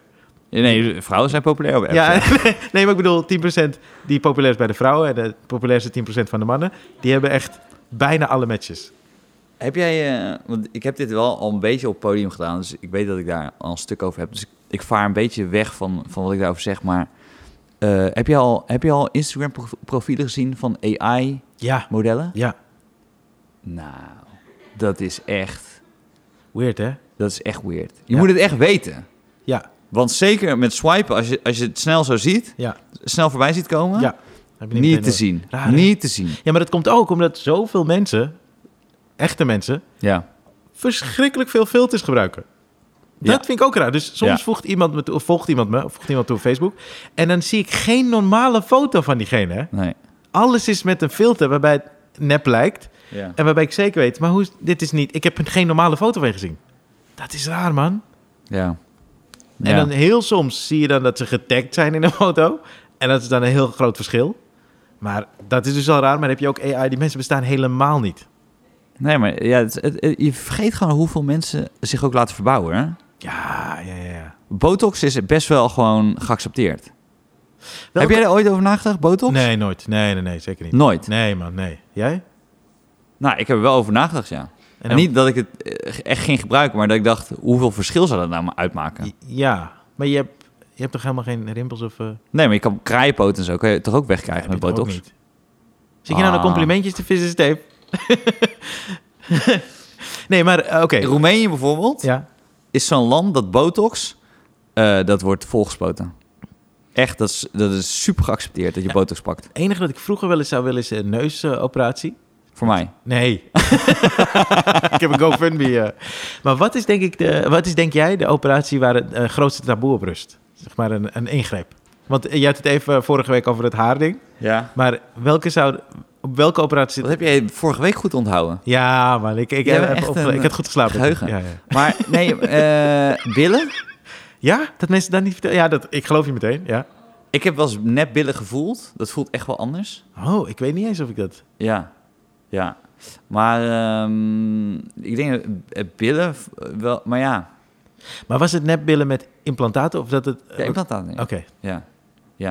Speaker 2: Nee, vrouwen zijn populair op apps.
Speaker 1: Ja,
Speaker 2: hè?
Speaker 1: nee, maar ik bedoel, 10% die populair is bij de vrouwen en de populairste 10% van de mannen, die hebben echt bijna alle matches.
Speaker 2: Heb jij, eh, want ik heb dit wel al een beetje op het podium gedaan, dus ik weet dat ik daar al een stuk over heb. Dus ik, ik vaar een beetje weg van, van wat ik daarover zeg, maar eh, heb, je al, heb je al Instagram prof- profielen gezien van AI-modellen?
Speaker 1: Ja, ja.
Speaker 2: Nou, dat is echt,
Speaker 1: Weird, hè?
Speaker 2: dat is echt weird. Je
Speaker 1: Ja.
Speaker 2: moet het echt weten.
Speaker 1: Ja,
Speaker 2: Want zeker met swipen, als je, als je het snel zo ziet,
Speaker 1: ja,
Speaker 2: snel voorbij ziet komen,
Speaker 1: ja. Heb je
Speaker 2: niet
Speaker 1: meteen
Speaker 2: te
Speaker 1: door.
Speaker 2: zien.
Speaker 1: Raar, hè?
Speaker 2: niet te zien.
Speaker 1: Ja, maar dat komt ook omdat zoveel mensen, echte mensen,
Speaker 2: Ja.
Speaker 1: verschrikkelijk veel filters gebruiken. Dat
Speaker 2: Ja.
Speaker 1: vind ik ook raar. Dus soms
Speaker 2: Ja.
Speaker 1: voegt iemand me toe, of volgt iemand me, of volgt iemand toe op Facebook. En dan zie ik geen normale foto van diegene. hè.
Speaker 2: Nee.
Speaker 1: Alles is met een filter waarbij het nep lijkt.
Speaker 2: Ja.
Speaker 1: En waarbij ik zeker weet, maar hoe, is- dit is niet... Ik heb een- geen normale foto van je gezien. Dat is raar, man.
Speaker 2: ja.
Speaker 1: En dan heel soms zie je dan dat ze getagd zijn in een foto. En dat is dan een heel groot verschil. Maar dat is dus al raar. Maar dan heb je ook AI, die mensen bestaan helemaal niet.
Speaker 2: Nee, maar ja, het- het- het- je vergeet gewoon hoeveel mensen zich ook laten verbouwen. Hè?
Speaker 1: Ja, ja, ja. ja.
Speaker 2: Botox is best wel gewoon geaccepteerd. Heb jij er ooit over nagedacht, botox?
Speaker 1: Nee, nooit. Nee, nee, nee, zeker niet.
Speaker 2: Nooit?
Speaker 1: Nee, man, nee. Jij?
Speaker 2: Nou, ik heb er wel over nagedacht, ja. En,
Speaker 1: dan-
Speaker 2: niet dat ik het eh, echt ging gebruiken, maar dat ik dacht, hoeveel verschil zou dat nou maar uitmaken?
Speaker 1: Ja, maar je hebt, je hebt toch helemaal geen rimpels of... eh,
Speaker 2: Nee, maar je kan kraaienpoten en zo, kan je toch ook wegkrijgen
Speaker 1: heb
Speaker 2: met
Speaker 1: je toch ook
Speaker 2: botox?
Speaker 1: niet? Zit je nou
Speaker 2: Ah.
Speaker 1: naar complimentjes te vissen, Steve? nee, maar eh, oké.
Speaker 2: In Roemenië bijvoorbeeld
Speaker 1: Ja.
Speaker 2: is zo'n land dat botox, eh, dat wordt volgespoten. Echt, dat is, dat is super geaccepteerd dat je botox pakt.
Speaker 1: Het enige dat ik vroeger wel eens zou willen is een neusoperatie.
Speaker 2: Voor mij.
Speaker 1: Nee. ik heb een GoFundMe. eh. Maar wat is, denk ik de, wat is denk jij de operatie waar het eh, grootste taboe op rust? Zeg maar een, een ingreep. Want eh, jij had het even vorige week over het haarding.
Speaker 2: Ja.
Speaker 1: Maar welke zou op welke operatie zit
Speaker 2: Dat heb jij vorige week goed onthouden.
Speaker 1: Ja, man, ik, ik,
Speaker 2: Jij
Speaker 1: heb,
Speaker 2: bent echt
Speaker 1: op-
Speaker 2: een, eh,
Speaker 1: ik had goed geslapen.
Speaker 2: geheugen.
Speaker 1: Ja, ja.
Speaker 2: Maar nee, eh, billen?
Speaker 1: ja, dat mensen dat niet vertellen. Ja, dat, ik geloof je meteen. Ja.
Speaker 2: Ik heb wel eens net billen gevoeld. Dat voelt echt wel anders.
Speaker 1: Oh, ik weet niet eens of ik dat...
Speaker 2: Ja, ja. Maar ehm, ik denk dat eh, billen v- wel... Maar ja,
Speaker 1: Maar was het nepbillen met implantaten of dat het...
Speaker 2: ja ik dat aan.
Speaker 1: Oké.
Speaker 2: Ja, ja.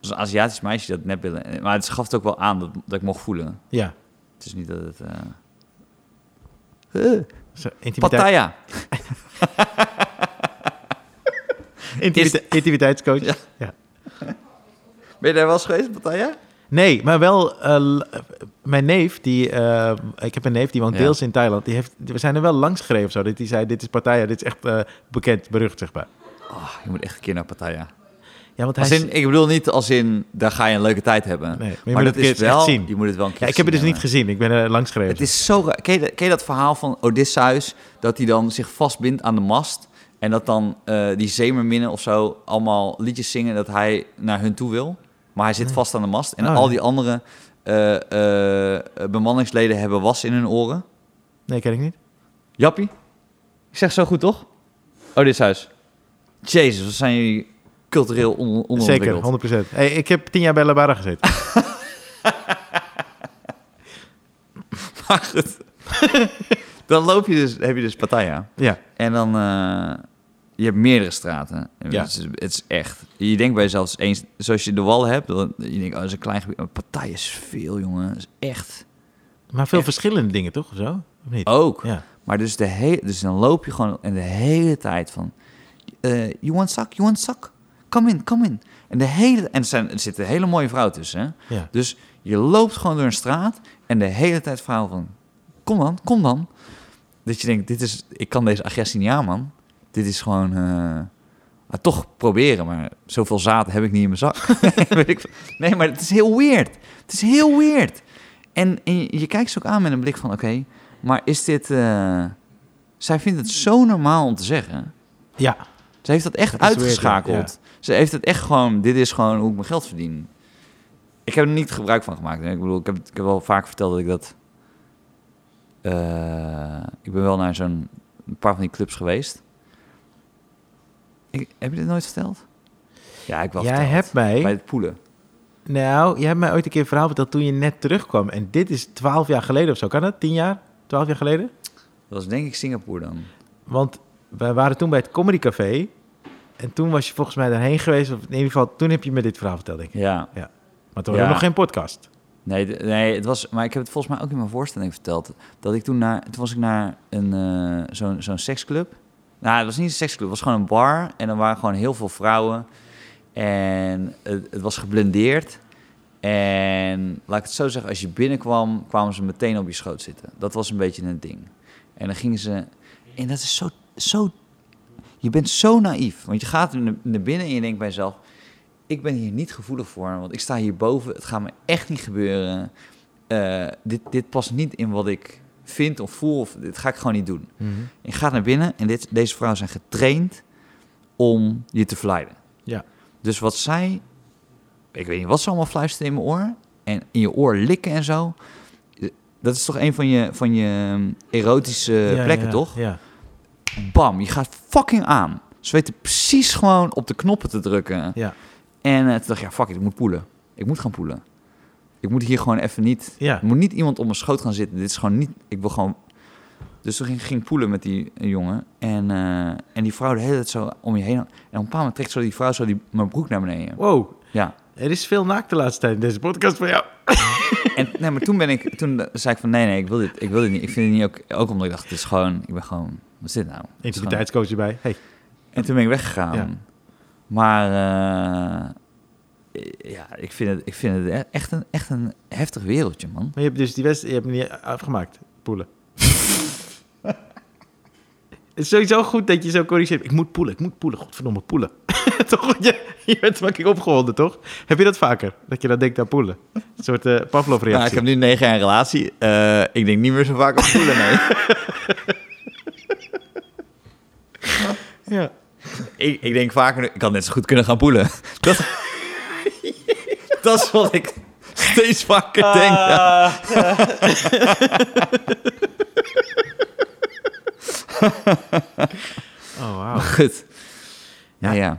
Speaker 2: Dat was een Aziatisch meisje dat net billen... eh, Maar het gaf het ook wel aan dat, dat ik mocht voelen.
Speaker 1: Ja.
Speaker 2: Het is niet dat het... eh, eh,
Speaker 1: Zo, intimiteit,
Speaker 2: Pattaya.
Speaker 1: intimite- intimiteitscoach.
Speaker 2: Ja. Ben je daar wel eens geweest, Pattaya?
Speaker 1: Nee, maar wel... eh, l- eh, mijn neef, die... eh, ik heb een neef, die woont
Speaker 2: Ja.
Speaker 1: deels in Thailand. Die heeft, we zijn er wel langs gereden of zo. Dat die zei, dit is Pattaya, dit is echt eh, bekend, berucht, zeg maar.
Speaker 2: Oh, je moet echt een keer naar Pattaya.
Speaker 1: Ja, want hij...
Speaker 2: Als
Speaker 1: is-
Speaker 2: in, ik bedoel niet als in, daar ga je een leuke tijd hebben.
Speaker 1: Nee, maar je
Speaker 2: maar
Speaker 1: moet
Speaker 2: dat
Speaker 1: het een
Speaker 2: is
Speaker 1: keer echt
Speaker 2: wel,
Speaker 1: zien.
Speaker 2: je moet het wel een keer
Speaker 1: ja, ik heb het dus
Speaker 2: zien,
Speaker 1: niet
Speaker 2: ja.
Speaker 1: gezien. Ik ben er langs gereden.
Speaker 2: Het is zo raar. Ken je, dat- ken je dat verhaal van Odysseus? Dat hij dan zich vastbindt aan de mast. En dat dan eh, die zeemerminnen of zo allemaal liedjes zingen dat hij naar hun toe wil. Maar hij zit vast aan de mast. En
Speaker 1: Oh,
Speaker 2: al
Speaker 1: ja.
Speaker 2: die andere eh, eh, bemanningsleden hebben was in hun oren.
Speaker 1: Nee, ken ik niet.
Speaker 2: Jappie? Ik zeg zo goed, toch? Odysseus. Jezus, wat zijn jullie cultureel on
Speaker 1: Zeker,
Speaker 2: onderontwikkeld.
Speaker 1: 100%. Hey, ik heb tien jaar bij Labara gezeten.
Speaker 2: Maar goed. dan loop je dus, heb je dus Pattaya.
Speaker 1: ja.
Speaker 2: En dan... eh, je hebt meerdere straten. En
Speaker 1: Ja.
Speaker 2: Het, is, het is echt... Je denkt bij jezelf eens... Zoals je de wallen hebt... Dan, je denkt, oh, dat is een klein gebied. Maar Pattaya is veel, jongen. Dat is echt...
Speaker 1: Maar veel
Speaker 2: Echt.
Speaker 1: verschillende dingen, toch? Of zo? Of niet?
Speaker 2: Ook.
Speaker 1: Ja.
Speaker 2: Maar dus, de hele, dus dan loop je gewoon... En de hele tijd van... eh you want zak? You want zak? Come in, come in. En, de hele, en er, zijn, er zit een hele mooie vrouw tussen. Hè?
Speaker 1: ja.
Speaker 2: Dus je loopt gewoon door een straat en de hele tijd verhaal van... Kom dan, kom dan. Dat je denkt, dit is, ik kan deze agressie niet aan, man. Dit is gewoon... eh, maar toch proberen, maar zoveel zaad heb ik niet in mijn zak. Weet ik veel. nee, maar het is heel weird. Het is heel weird. En, en je, je kijkt ze ook aan met een blik van, oké, maar is dit... eh, zij vindt het zo normaal om te zeggen.
Speaker 1: ja.
Speaker 2: Ze heeft dat echt
Speaker 1: Dat is weird,
Speaker 2: uitgeschakeld. Ze heeft het echt gewoon, dit is gewoon hoe ik mijn geld verdien. Ik heb er niet gebruik van gemaakt. hè. Ik bedoel, ik heb, ik heb wel vaak verteld dat ik dat... eh, ik ben wel naar zo'n een paar van die clubs geweest. Ik, heb je dit nooit verteld? Ja, ik wel
Speaker 1: Jij
Speaker 2: verteld.
Speaker 1: hebt mij...
Speaker 2: Bij het poelen.
Speaker 1: Nou, jij hebt mij ooit een keer een verhaal verteld toen je net terugkwam. En dit is twaalf jaar geleden of zo. Kan dat? Tien jaar? Twaalf jaar geleden?
Speaker 2: Dat was denk ik Singapore dan.
Speaker 1: Want wij waren toen bij het Comedy Café. En toen was je volgens mij daarheen geweest. Of in ieder geval, toen heb je me dit verhaal verteld, denk ik.
Speaker 2: Ja.
Speaker 1: Maar toen hadden we
Speaker 2: Ja.
Speaker 1: nog geen podcast.
Speaker 2: Nee, d- nee, het was, maar ik heb het volgens mij ook in mijn voorstelling verteld. Dat ik toen naar, toen was ik naar een, eh, zo'n, zo'n seksclub. Nou, het was niet een seksclub, het was gewoon een bar. En er waren gewoon heel veel vrouwen. En het, het was geblendeerd. En laat ik het zo zeggen, als je binnenkwam, kwamen ze meteen op je schoot zitten. Dat was een beetje een ding. En dan gingen ze. En dat is zo. zo je bent zo naïef. Want je gaat er naar binnen en je denkt bij jezelf: ik ben hier niet gevoelig voor, want ik sta hierboven. Het gaat me echt niet gebeuren. Eh, dit, dit past niet in wat ik vind of voel. Of, dit ga ik gewoon niet doen. En je gaat naar binnen en dit, deze vrouwen zijn getraind om je te verleiden.
Speaker 1: Ja.
Speaker 2: Dus wat zij, ik weet niet wat ze allemaal fluisteren in mijn oor en in je oor likken en zo. Dat is toch een van je, van je erotische
Speaker 1: Ja,
Speaker 2: plekken,
Speaker 1: ja,
Speaker 2: toch?
Speaker 1: Ja.
Speaker 2: Bam, je gaat fucking aan. Ze weten precies gewoon op de knoppen te drukken.
Speaker 1: Ja.
Speaker 2: En eh, toen dacht ik, ja, fuck it, ik moet poelen. Ik moet gaan poelen. Ik moet hier gewoon even niet...
Speaker 1: Ja.
Speaker 2: Er moet niet iemand op mijn schoot gaan zitten. Dit is gewoon niet... Ik wil gewoon... Dus toen ging ging ik poelen met die eh, jongen. En, eh, en die vrouw de hele tijd zo om je heen. En op een bepaald moment trekt zo die vrouw zo die, mijn broek naar beneden.
Speaker 1: Wow.
Speaker 2: Ja.
Speaker 1: Er is veel naakt de laatste tijd in deze podcast van jou.
Speaker 2: En nee, maar toen ben ik... Toen zei ik van, nee, nee, ik wil dit, ik wil dit niet. Ik vind het niet ook... Ook omdat ik dacht, het is gewoon... Ik ben gewoon... Wat is dit nou? Het is gewoon-
Speaker 1: Intimiteitscoach erbij. Hey.
Speaker 2: En toen ben ik weggegaan.
Speaker 1: Ja.
Speaker 2: Maar eh, ja, ik vind het, ik vind het e-, echt, een, echt een heftig wereldje, man.
Speaker 1: Maar je hebt dus die wedstrijd, je hebt hem niet afgemaakt, poelen. Het is sowieso goed dat je zo corrigeert. Ik moet poelen, ik moet poelen, godverdomme, poelen. toch? Je, je bent fucking opgewonden, toch? Heb je dat vaker? Dat je dan denkt aan poelen? Een soort eh
Speaker 2: Nou, ik
Speaker 1: Pavlov-reactie.
Speaker 2: heb nu negen jaar een relatie. Eh, ik denk niet meer zo vaak op voelen, nee.
Speaker 1: ja.
Speaker 2: ik, ik denk vaker, ik had net zo goed kunnen gaan poelen. Dat, dat is wat ik steeds vaker
Speaker 1: Ah.
Speaker 2: denk. Ja.
Speaker 1: oh, wauw.
Speaker 2: Goed. Ja, ja.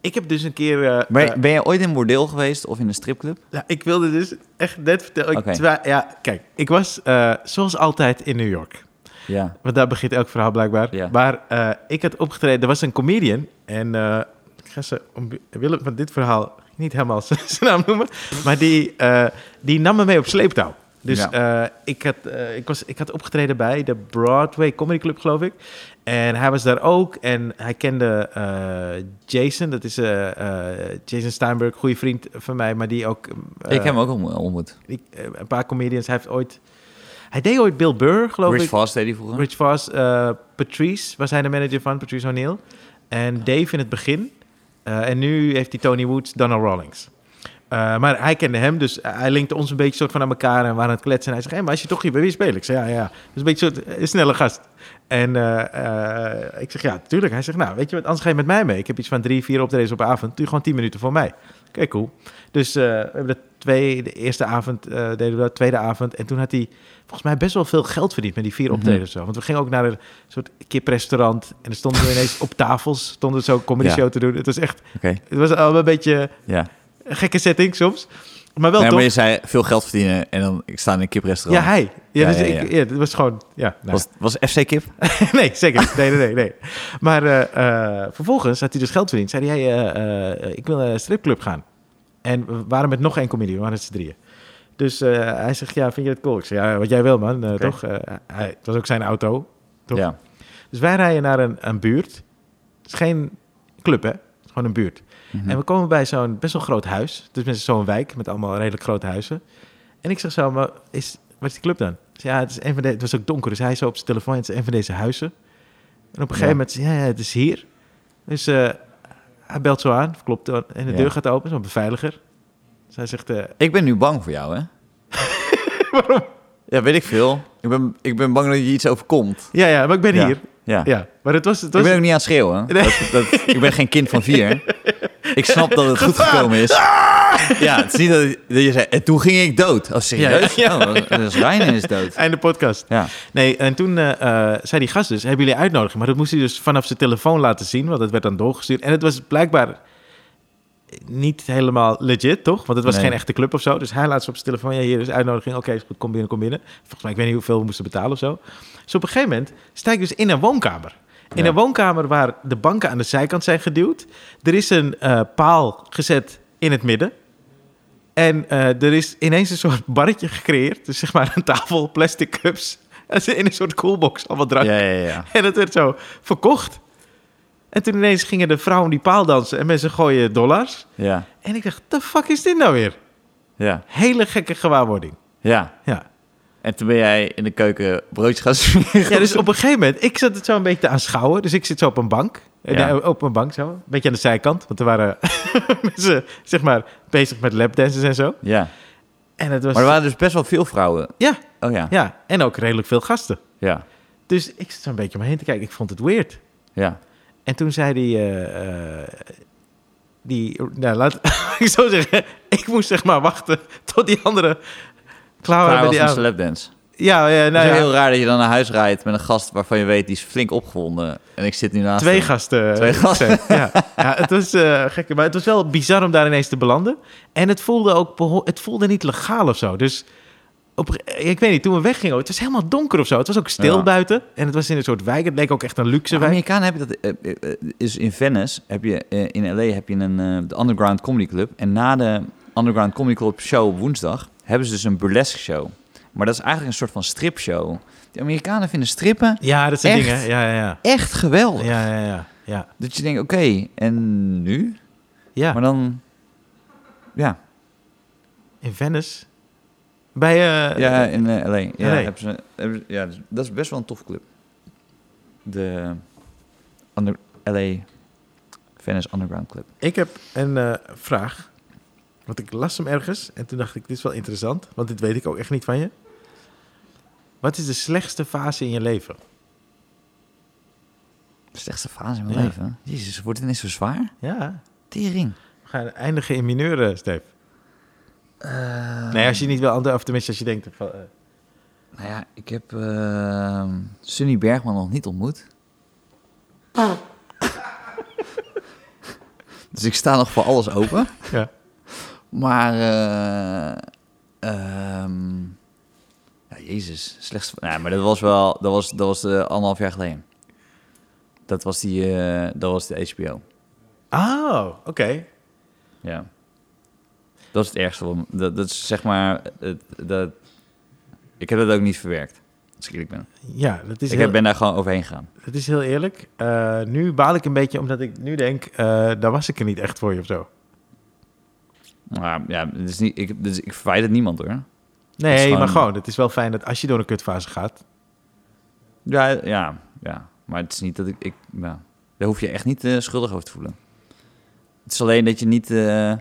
Speaker 1: Ik heb dus een keer... eh,
Speaker 2: Maar
Speaker 1: eh,
Speaker 2: ben je ooit in een bordeel geweest of in een stripclub?
Speaker 1: nou, ik wilde dus echt net vertellen... ik-
Speaker 2: Oké.
Speaker 1: terwijl- ja, kijk, ik was eh, zoals altijd in New York.
Speaker 2: Ja.
Speaker 1: Want daar begint elk verhaal blijkbaar.
Speaker 2: Ja.
Speaker 1: Maar eh, ik had opgetreden, er was een comedian. En eh, ik ga ze willen van dit verhaal niet helemaal zijn naam noemen. Maar die, eh, die nam me mee op sleeptouw. Dus eh, ik, had, eh, ik, was, ik had opgetreden bij de Broadway Comedy Club, geloof ik. En hij was daar ook. En hij kende eh, Jason. Dat is eh, eh, Jason Steinberg, goede vriend van mij. Maar die ook... eh,
Speaker 2: ik heb hem ook ontmo- ontmoet.
Speaker 1: die- eh, een paar comedians. Hij heeft ooit... Hij deed ooit Bill Burr, geloof
Speaker 2: Rich
Speaker 1: ik.
Speaker 2: Fast deed hij vroeger.
Speaker 1: Rich Voss, eh, Patrice was hij de manager van, Patrice O'Neill. En Dave in het begin. Eh, en nu heeft hij Tony Woods, Donald Rawlings. Eh, maar hij kende hem, dus hij linkte ons een beetje soort van aan elkaar en we waren aan het kletsen. En hij zegt, hé, maar als je toch hier bij wie spelen? Ik zei, ja, ja. Dus een beetje soort eh, snelle gast. En eh, eh, ik zeg, ja, tuurlijk. Hij zegt, nou, weet je wat, anders ga je met mij mee. Ik heb iets van drie, vier optredens op avond. Doe gewoon tien minuten voor mij. Oké, cool. Dus eh, we hebben dat twee, de eerste avond eh, deden we dat, tweede avond. En toen had hij volgens mij best wel veel geld verdiend met die vier
Speaker 2: Mhm.
Speaker 1: optredens. of zo. Want we gingen ook naar een soort kiprestaurant. En er stonden we ineens op tafels, stonden we zo een comedy
Speaker 2: Ja.
Speaker 1: show te doen. Het was echt,
Speaker 2: Oké,
Speaker 1: het was al een beetje
Speaker 2: ja.
Speaker 1: een gekke setting soms. Maar wel
Speaker 2: Nee,
Speaker 1: tof.
Speaker 2: maar je zei veel geld verdienen en dan ik sta in een
Speaker 1: Ja,
Speaker 2: kiprestaurant.
Speaker 1: hij. Ja,
Speaker 2: Ja,
Speaker 1: dus
Speaker 2: ja,
Speaker 1: ik- ja, dat was gewoon... Ja, nou.
Speaker 2: was, was FC Kip?
Speaker 1: nee, zeker. niet. Nee, nee, nee. nee. Maar eh, eh, vervolgens had hij dus geld verdiend. Zei hij, hey, eh, eh, ik wil naar een stripclub gaan. En we waren met nog één comedian, we waren met z'n drieën. Dus eh, hij zegt, ja, vind je dat cool? Ik zeg, ja, wat jij wil, man. eh,
Speaker 2: Oké.
Speaker 1: Toch? Eh, hij, het was ook zijn auto. Toch?
Speaker 2: Ja.
Speaker 1: Dus wij rijden naar een, een buurt. Het is geen club, hè? Het is gewoon een buurt.
Speaker 2: Mhm.
Speaker 1: En we komen bij zo'n best wel groot huis. Dus met zo'n wijk met allemaal redelijk grote huizen. En ik zeg zo, maar is, wat is die club dan? Ik zeg, ja, het, is een van de, het was ook donker, dus hij zo op zijn telefoon. Het is een van deze huizen. En op een gegeven
Speaker 2: Ja.
Speaker 1: moment, ja, ja, het is hier. Dus eh, hij belt zo aan, klopt. En de
Speaker 2: Ja.
Speaker 1: deur gaat open, zo'n beveiliger. Dus hij zegt, eh,
Speaker 2: Ik ben nu bang voor jou, hè?
Speaker 1: waarom?
Speaker 2: Ja, weet ik veel. Ik ben, ik ben bang dat je iets overkomt.
Speaker 1: Ja, ja, maar ik ben
Speaker 2: Ja.
Speaker 1: hier.
Speaker 2: Ja.
Speaker 1: Ja, maar het was... Het
Speaker 2: Ik
Speaker 1: was
Speaker 2: ben ook niet aan het schreeuwen.
Speaker 1: Nee.
Speaker 2: Dat, dat, ik ben geen kind van vier. Ik snap dat het goed gekomen is.
Speaker 1: Ah!
Speaker 2: Ja, het is niet dat, dat je zei... En toen ging ik dood. Oh, serieus?
Speaker 1: Ja, ja.
Speaker 2: Oh, dat- dat is Ryan is dood.
Speaker 1: Einde podcast.
Speaker 2: Ja.
Speaker 1: Nee, en toen eh, eh, zei die gast dus, hebben jullie uitnodiging? Maar dat moest hij dus vanaf zijn telefoon laten zien, want dat werd dan doorgestuurd. En het was blijkbaar niet helemaal legit, toch? Want het was
Speaker 2: Nee.
Speaker 1: geen echte club of zo. Dus hij laat ze op zijn telefoon, ja, hier is uitnodiging. Oké, is goed, kom binnen, kom binnen. Volgens mij, ik weet niet hoeveel we moesten betalen of zo. Dus op een gegeven moment sta ik dus in een woonkamer. In
Speaker 2: Ja.
Speaker 1: een woonkamer waar de banken aan de zijkant zijn geduwd. Er is een eh, paal gezet in het midden. En eh, er is ineens een soort barretje gecreëerd. Dus zeg maar een tafel, plastic cups. En ze in een soort coolbox, allemaal
Speaker 2: Ja,
Speaker 1: drank.
Speaker 2: ja, ja.
Speaker 1: En dat werd zo verkocht. En toen ineens gingen de vrouwen die paal dansen en mensen gooien dollars.
Speaker 2: Ja,
Speaker 1: En ik dacht, de fuck is dit nou weer?
Speaker 2: ja,
Speaker 1: Hele gekke gewaarwording.
Speaker 2: ja.
Speaker 1: Ja.
Speaker 2: En toen ben jij in de keuken broodjes gaan smeren.
Speaker 1: ja, dus op een gegeven moment, ik zat het zo een beetje te aanschouwen. Dus ik zit zo op een bank. Eh,
Speaker 2: Ja.
Speaker 1: nee, op een bank zo. Een beetje aan de zijkant. Want er waren mensen, zeg maar, bezig met lapdances en zo.
Speaker 2: Ja.
Speaker 1: En het was...
Speaker 2: Maar er waren dus best wel veel vrouwen.
Speaker 1: Ja,
Speaker 2: Oh ja, ja,
Speaker 1: ja. En ook redelijk veel gasten.
Speaker 2: ja.
Speaker 1: Dus ik zat zo'n beetje om me heen te kijken. Ik vond het weird. En toen zei die... eh, eh, die nou, laat ik zo zeggen. Ik moest zeg maar wachten tot die andere klaar
Speaker 2: Klaar
Speaker 1: waren met
Speaker 2: was
Speaker 1: die
Speaker 2: een
Speaker 1: avond.
Speaker 2: slapdance.
Speaker 1: Ja, ja,
Speaker 2: Het
Speaker 1: nou
Speaker 2: is
Speaker 1: ja.
Speaker 2: heel raar dat je dan naar huis rijdt met een gast waarvan je weet, die is flink opgewonden. En ik zit nu naast
Speaker 1: Twee
Speaker 2: hem.
Speaker 1: gasten. eh,
Speaker 2: Twee gasten.
Speaker 1: Ja, ja het was eh gek. Maar het was wel bizar om daar ineens te belanden. En het voelde ook beho- het voelde niet legaal of zo. Dus op, ik weet niet, toen we weggingen, het was helemaal donker of zo. Het was ook stil
Speaker 2: Ja.
Speaker 1: buiten. En het was in een soort wijk. Het leek ook echt een luxe
Speaker 2: Ja,
Speaker 1: wijk.
Speaker 2: Amerikanen hebben dat... eh, eh, eh, is in Venice, heb je, eh, in L.A. heb je een, eh, de Underground Comedy Club. En na de Underground Comedy Club show op woensdag hebben ze dus een burlesque show. Maar dat is eigenlijk een soort van stripshow. De Amerikanen vinden strippen
Speaker 1: Ja, dat zijn
Speaker 2: Echt?
Speaker 1: dingen. Ja, ja, ja.
Speaker 2: echt geweldig.
Speaker 1: Ja, ja, ja. ja.
Speaker 2: Dat je denkt, oké, en nu?
Speaker 1: ja.
Speaker 2: Maar dan... Ja,
Speaker 1: In Venice? Bij... eh,
Speaker 2: ja in eh, L.A. Ja,
Speaker 1: LA.
Speaker 2: hebben ze, hebben ze- ja, dus dat is best wel een tof club. De under, L.A. Venice Underground Club.
Speaker 1: Ik heb een eh, vraag. Want ik las hem ergens en toen dacht ik, dit is wel interessant. Want dit weet ik ook echt niet van je. Wat is de slechtste fase in je leven?
Speaker 2: Slechtste fase in mijn
Speaker 1: Ja.
Speaker 2: leven. Jezus, wordt het ineens zo zwaar?
Speaker 1: Ja,
Speaker 2: Tering.
Speaker 1: we gaan eindigen in mineuren, Steve.
Speaker 2: Eh,
Speaker 1: Nee, als je niet wil antwoorden, of tenminste als je denkt... van, eh,
Speaker 2: Nou ja, ik heb eh, Sunny Bergman nog niet ontmoet. dus ik sta nog voor alles open.
Speaker 1: ja.
Speaker 2: Maar, eh, ehm, ja, jezus, slechts... Nou, maar dat was wel, dat was, dat was eh, anderhalf jaar geleden. Dat was die, eh, dat was de HBO.
Speaker 1: Oh, oké.
Speaker 2: Ja. Dat is het ergste. wat me- Dat, dat is zeg maar, het, dat, ik heb dat ook niet verwerkt, als ik eerlijk ben.
Speaker 1: Ja, dat is
Speaker 2: Ik
Speaker 1: heel-
Speaker 2: ben daar gewoon overheen gegaan.
Speaker 1: Het is heel eerlijk. Eh, nu baal ik een beetje omdat ik nu denk, eh, daar was ik er niet echt voor je of zo.
Speaker 2: Maar ja, het is niet, ik, dus ik verwijt het niemand hoor.
Speaker 1: Nee,
Speaker 2: Het is gewoon-
Speaker 1: maar gewoon, het is wel fijn dat als je door een kutfase gaat.
Speaker 2: Ja, ja, ja. Maar het is niet dat ik... ik ja. Daar hoef je echt niet eh, schuldig over te voelen. Het is alleen dat je niet... eh,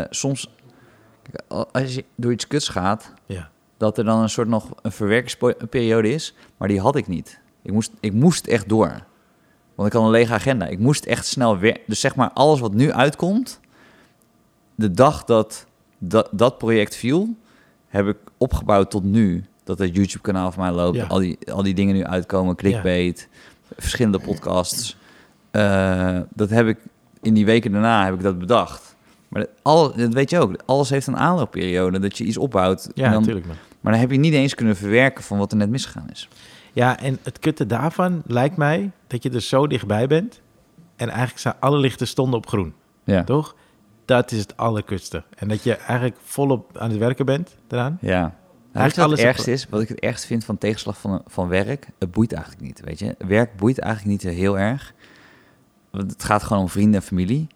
Speaker 2: eh, soms... Kijk, al- als je door iets kuts gaat...
Speaker 1: Ja.
Speaker 2: Dat er dan een soort nog een verwerkingsperiode is. Maar die had ik niet. Ik moest, ik moest echt door. Want ik had een lege agenda. Ik moest echt snel weer... Dus zeg maar alles wat nu uitkomt... De dag dat dat, dat project viel... Heb ik opgebouwd tot nu. Dat het YouTube kanaal van mij loopt.
Speaker 1: Ja.
Speaker 2: Al, die, al die dingen nu uitkomen. Clickbait. Verschillende podcasts. Eh, dat heb ik in die weken daarna heb ik dat bedacht. Maar dat, al, dat weet je ook. Alles heeft een aanloopperiode dat je iets opbouwt.
Speaker 1: Ja,
Speaker 2: en dan-
Speaker 1: natuurlijk. Man.
Speaker 2: maar dan heb je niet eens kunnen verwerken van wat er net misgegaan is.
Speaker 1: Ja, en het kutte daarvan lijkt mij dat je er zo dichtbij bent. En eigenlijk staan alle lichten stonden op groen,
Speaker 2: Ja.
Speaker 1: toch? Dat is het allerkutste. En dat je eigenlijk volop aan het werken bent eraan.
Speaker 2: Ja. Nou,
Speaker 1: Eigenlijk
Speaker 2: weet je wat
Speaker 1: alles
Speaker 2: het ergste
Speaker 1: op-
Speaker 2: is? Wat ik het ergst vind van tegenslag van, van werk, het boeit eigenlijk niet, weet je. Werk boeit eigenlijk niet zo heel erg. Want het gaat gewoon om vrienden en familie.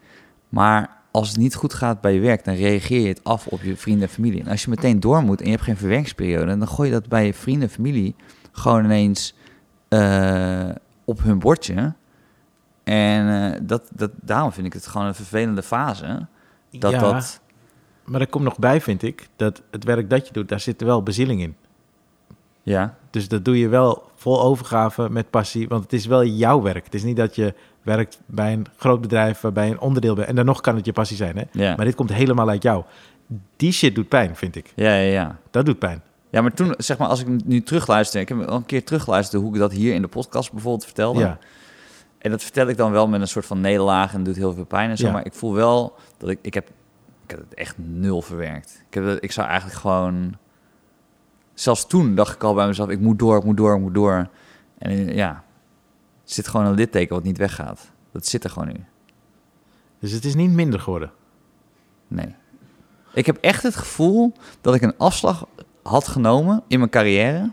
Speaker 2: Maar als het niet goed gaat bij je werk, dan reageer je het af op je vrienden en familie. En als je meteen door moet en je hebt geen verwerkingsperiode, dan gooi je dat bij je vrienden en familie gewoon ineens eh, op hun bordje. En eh, dat, dat, daarom vind ik het gewoon een vervelende fase. Dat
Speaker 1: ja,
Speaker 2: dat...
Speaker 1: maar er komt nog bij, vind ik, dat het werk dat je doet, daar zit wel bezieling in.
Speaker 2: Ja.
Speaker 1: Dus dat doe je wel vol overgave met passie, want het is wel jouw werk. Het is niet dat je werkt bij een groot bedrijf waarbij je een onderdeel bent. En dan nog kan het je passie zijn, hè?
Speaker 2: Ja.
Speaker 1: Maar dit komt helemaal uit jou. Die shit doet pijn, vind ik.
Speaker 2: Ja, ja, ja.
Speaker 1: Dat doet pijn.
Speaker 2: Ja, maar toen, zeg maar, als ik nu terugluister... Ik heb al een keer teruggeluisterd hoe ik dat hier in de podcast bijvoorbeeld vertelde.
Speaker 1: Ja.
Speaker 2: En dat vertel ik dan wel met een soort van nederlaag en doet heel veel pijn en zo.
Speaker 1: Ja.
Speaker 2: Maar ik voel wel dat ik... Ik heb, ik heb het echt nul verwerkt. Ik, heb, het- ik zou eigenlijk gewoon... Zelfs toen dacht ik al bij mezelf, ik moet door, ik moet door, ik moet door. En eh, ja, er zit gewoon een litteken wat niet weggaat. Dat zit er gewoon nu.
Speaker 1: Dus het is niet minder geworden.
Speaker 2: Nee. Ik heb echt het gevoel dat ik een afslag had genomen in mijn carrière.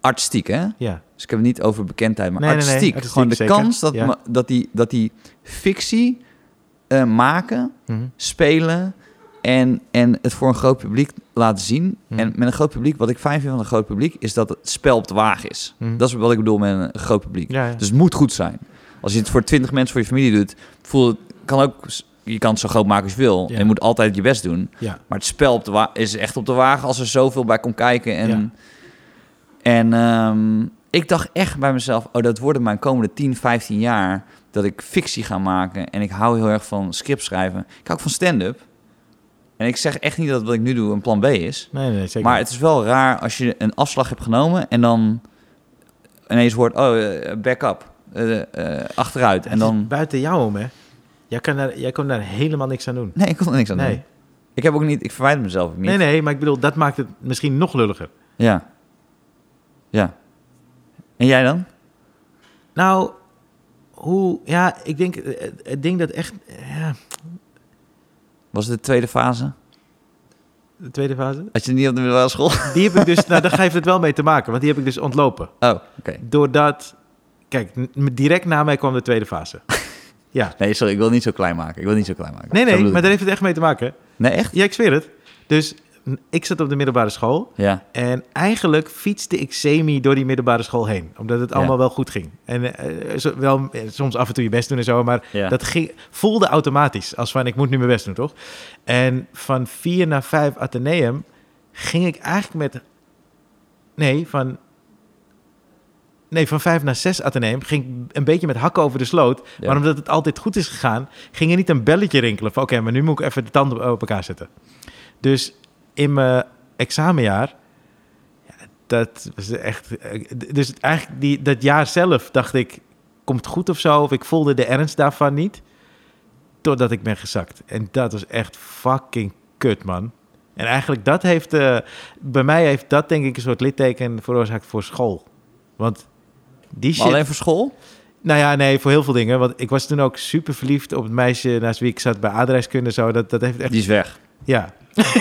Speaker 2: Artistiek, hè?
Speaker 1: Ja.
Speaker 2: Dus ik heb het niet over bekendheid, maar
Speaker 1: Nee, nee, nee,
Speaker 2: artistiek.
Speaker 1: artistiek,
Speaker 2: Gewoon de
Speaker 1: zeker.
Speaker 2: kans dat,
Speaker 1: Ja.
Speaker 2: me- dat, die, dat die fictie eh, maken,
Speaker 1: Mhm.
Speaker 2: spelen en, en het voor een groot publiek laten zien.
Speaker 1: Mhm.
Speaker 2: En met een groot publiek, wat ik fijn vind van een groot publiek, is dat het spel op de waag is.
Speaker 1: Mhm.
Speaker 2: Dat is wat ik bedoel met een groot publiek.
Speaker 1: Ja, ja.
Speaker 2: Dus het moet goed zijn. Als je het voor 20 mensen voor je familie doet, voel het, kan ook, je kan het zo groot maken als je wil.
Speaker 1: Ja.
Speaker 2: En je moet altijd je best doen.
Speaker 1: ja.
Speaker 2: Maar het spel op de wa- is echt op de wagen als er zoveel bij komt kijken. En,
Speaker 1: Ja.
Speaker 2: en ehm, ik dacht echt bij mezelf, oh, dat worden mijn komende 10, 15 jaar dat ik fictie ga maken. En ik hou heel erg van script schrijven. Ik hou ook van stand-up. En ik zeg echt niet dat wat ik nu doe een plan B is.
Speaker 1: Nee, nee, nee, zeker.
Speaker 2: Maar het is wel raar als je een afslag hebt genomen en dan ineens hoort, oh, eh, back up. Eh, eh, achteruit. En
Speaker 1: Het is
Speaker 2: dan...
Speaker 1: buiten jou om, hè? Jij kan daar, jij kan daar helemaal niks aan doen.
Speaker 2: Nee, ik kon er niks aan
Speaker 1: Nee.
Speaker 2: doen. Ik heb ook niet... Ik verwijder mezelf ook niet.
Speaker 1: nee, nee, maar ik bedoel, dat maakt het misschien nog lulliger.
Speaker 2: Ja. Ja. En jij dan?
Speaker 1: Nou, hoe... Ja, ik denk, het, het ding dat echt... Ja,
Speaker 2: Was het de tweede fase?
Speaker 1: de tweede fase?
Speaker 2: Had je niet op de middelbare school? Oh,
Speaker 1: Die heb ik dus, nou, daar heeft het wel mee te maken, want die heb ik dus ontlopen.
Speaker 2: Oh, oké.
Speaker 1: Doordat, kijk, n- direct na mij kwam de tweede fase. Ja.
Speaker 2: Nee, sorry, ik wil het niet zo klein maken. Ik wil het niet zo klein maken.
Speaker 1: Nee,
Speaker 2: Zo
Speaker 1: nee,
Speaker 2: bedoel
Speaker 1: maar
Speaker 2: ik
Speaker 1: daar heeft het echt mee te maken.
Speaker 2: het. Nee, echt?
Speaker 1: Ja, ik zweer het. Dus n- ik zat op de middelbare school
Speaker 2: Ja.
Speaker 1: en eigenlijk fietste ik semi door die middelbare school heen. Omdat het allemaal wel goed ging. En eh, eh, zo- wel, eh, soms af en toe je best doen en zo, maar
Speaker 2: Ja.
Speaker 1: dat ging, voelde automatisch. Als van, ik moet nu mijn best doen, toch? En van vier naar vijf Atheneum ging ik eigenlijk met... Nee, van nee, van vijf naar zes Atheneum ging ik een beetje met hakken over de sloot.
Speaker 2: Ja.
Speaker 1: Maar omdat het altijd goed is gegaan, ging er niet een belletje rinkelen van... oké, maar nu moet ik even de tanden op elkaar zetten. Dus in mijn examenjaar, ja, dat was echt... eh, Dus eigenlijk die, dat jaar zelf dacht ik, komt goed of zo? Of ik voelde de ernst daarvan niet, totdat ik ben gezakt. En dat was echt fucking kut, man. En eigenlijk dat heeft, eh, bij mij heeft dat denk ik een soort litteken veroorzaakt voor school. Want die
Speaker 2: Maar
Speaker 1: shit...
Speaker 2: alleen voor school?
Speaker 1: Nou ja, nee, voor heel veel dingen. Want ik was toen ook super verliefd op het meisje naast wie ik zat bij aardrijkskunde. en Zo, dat, dat heeft echt...
Speaker 2: Die is weg.
Speaker 1: Ja,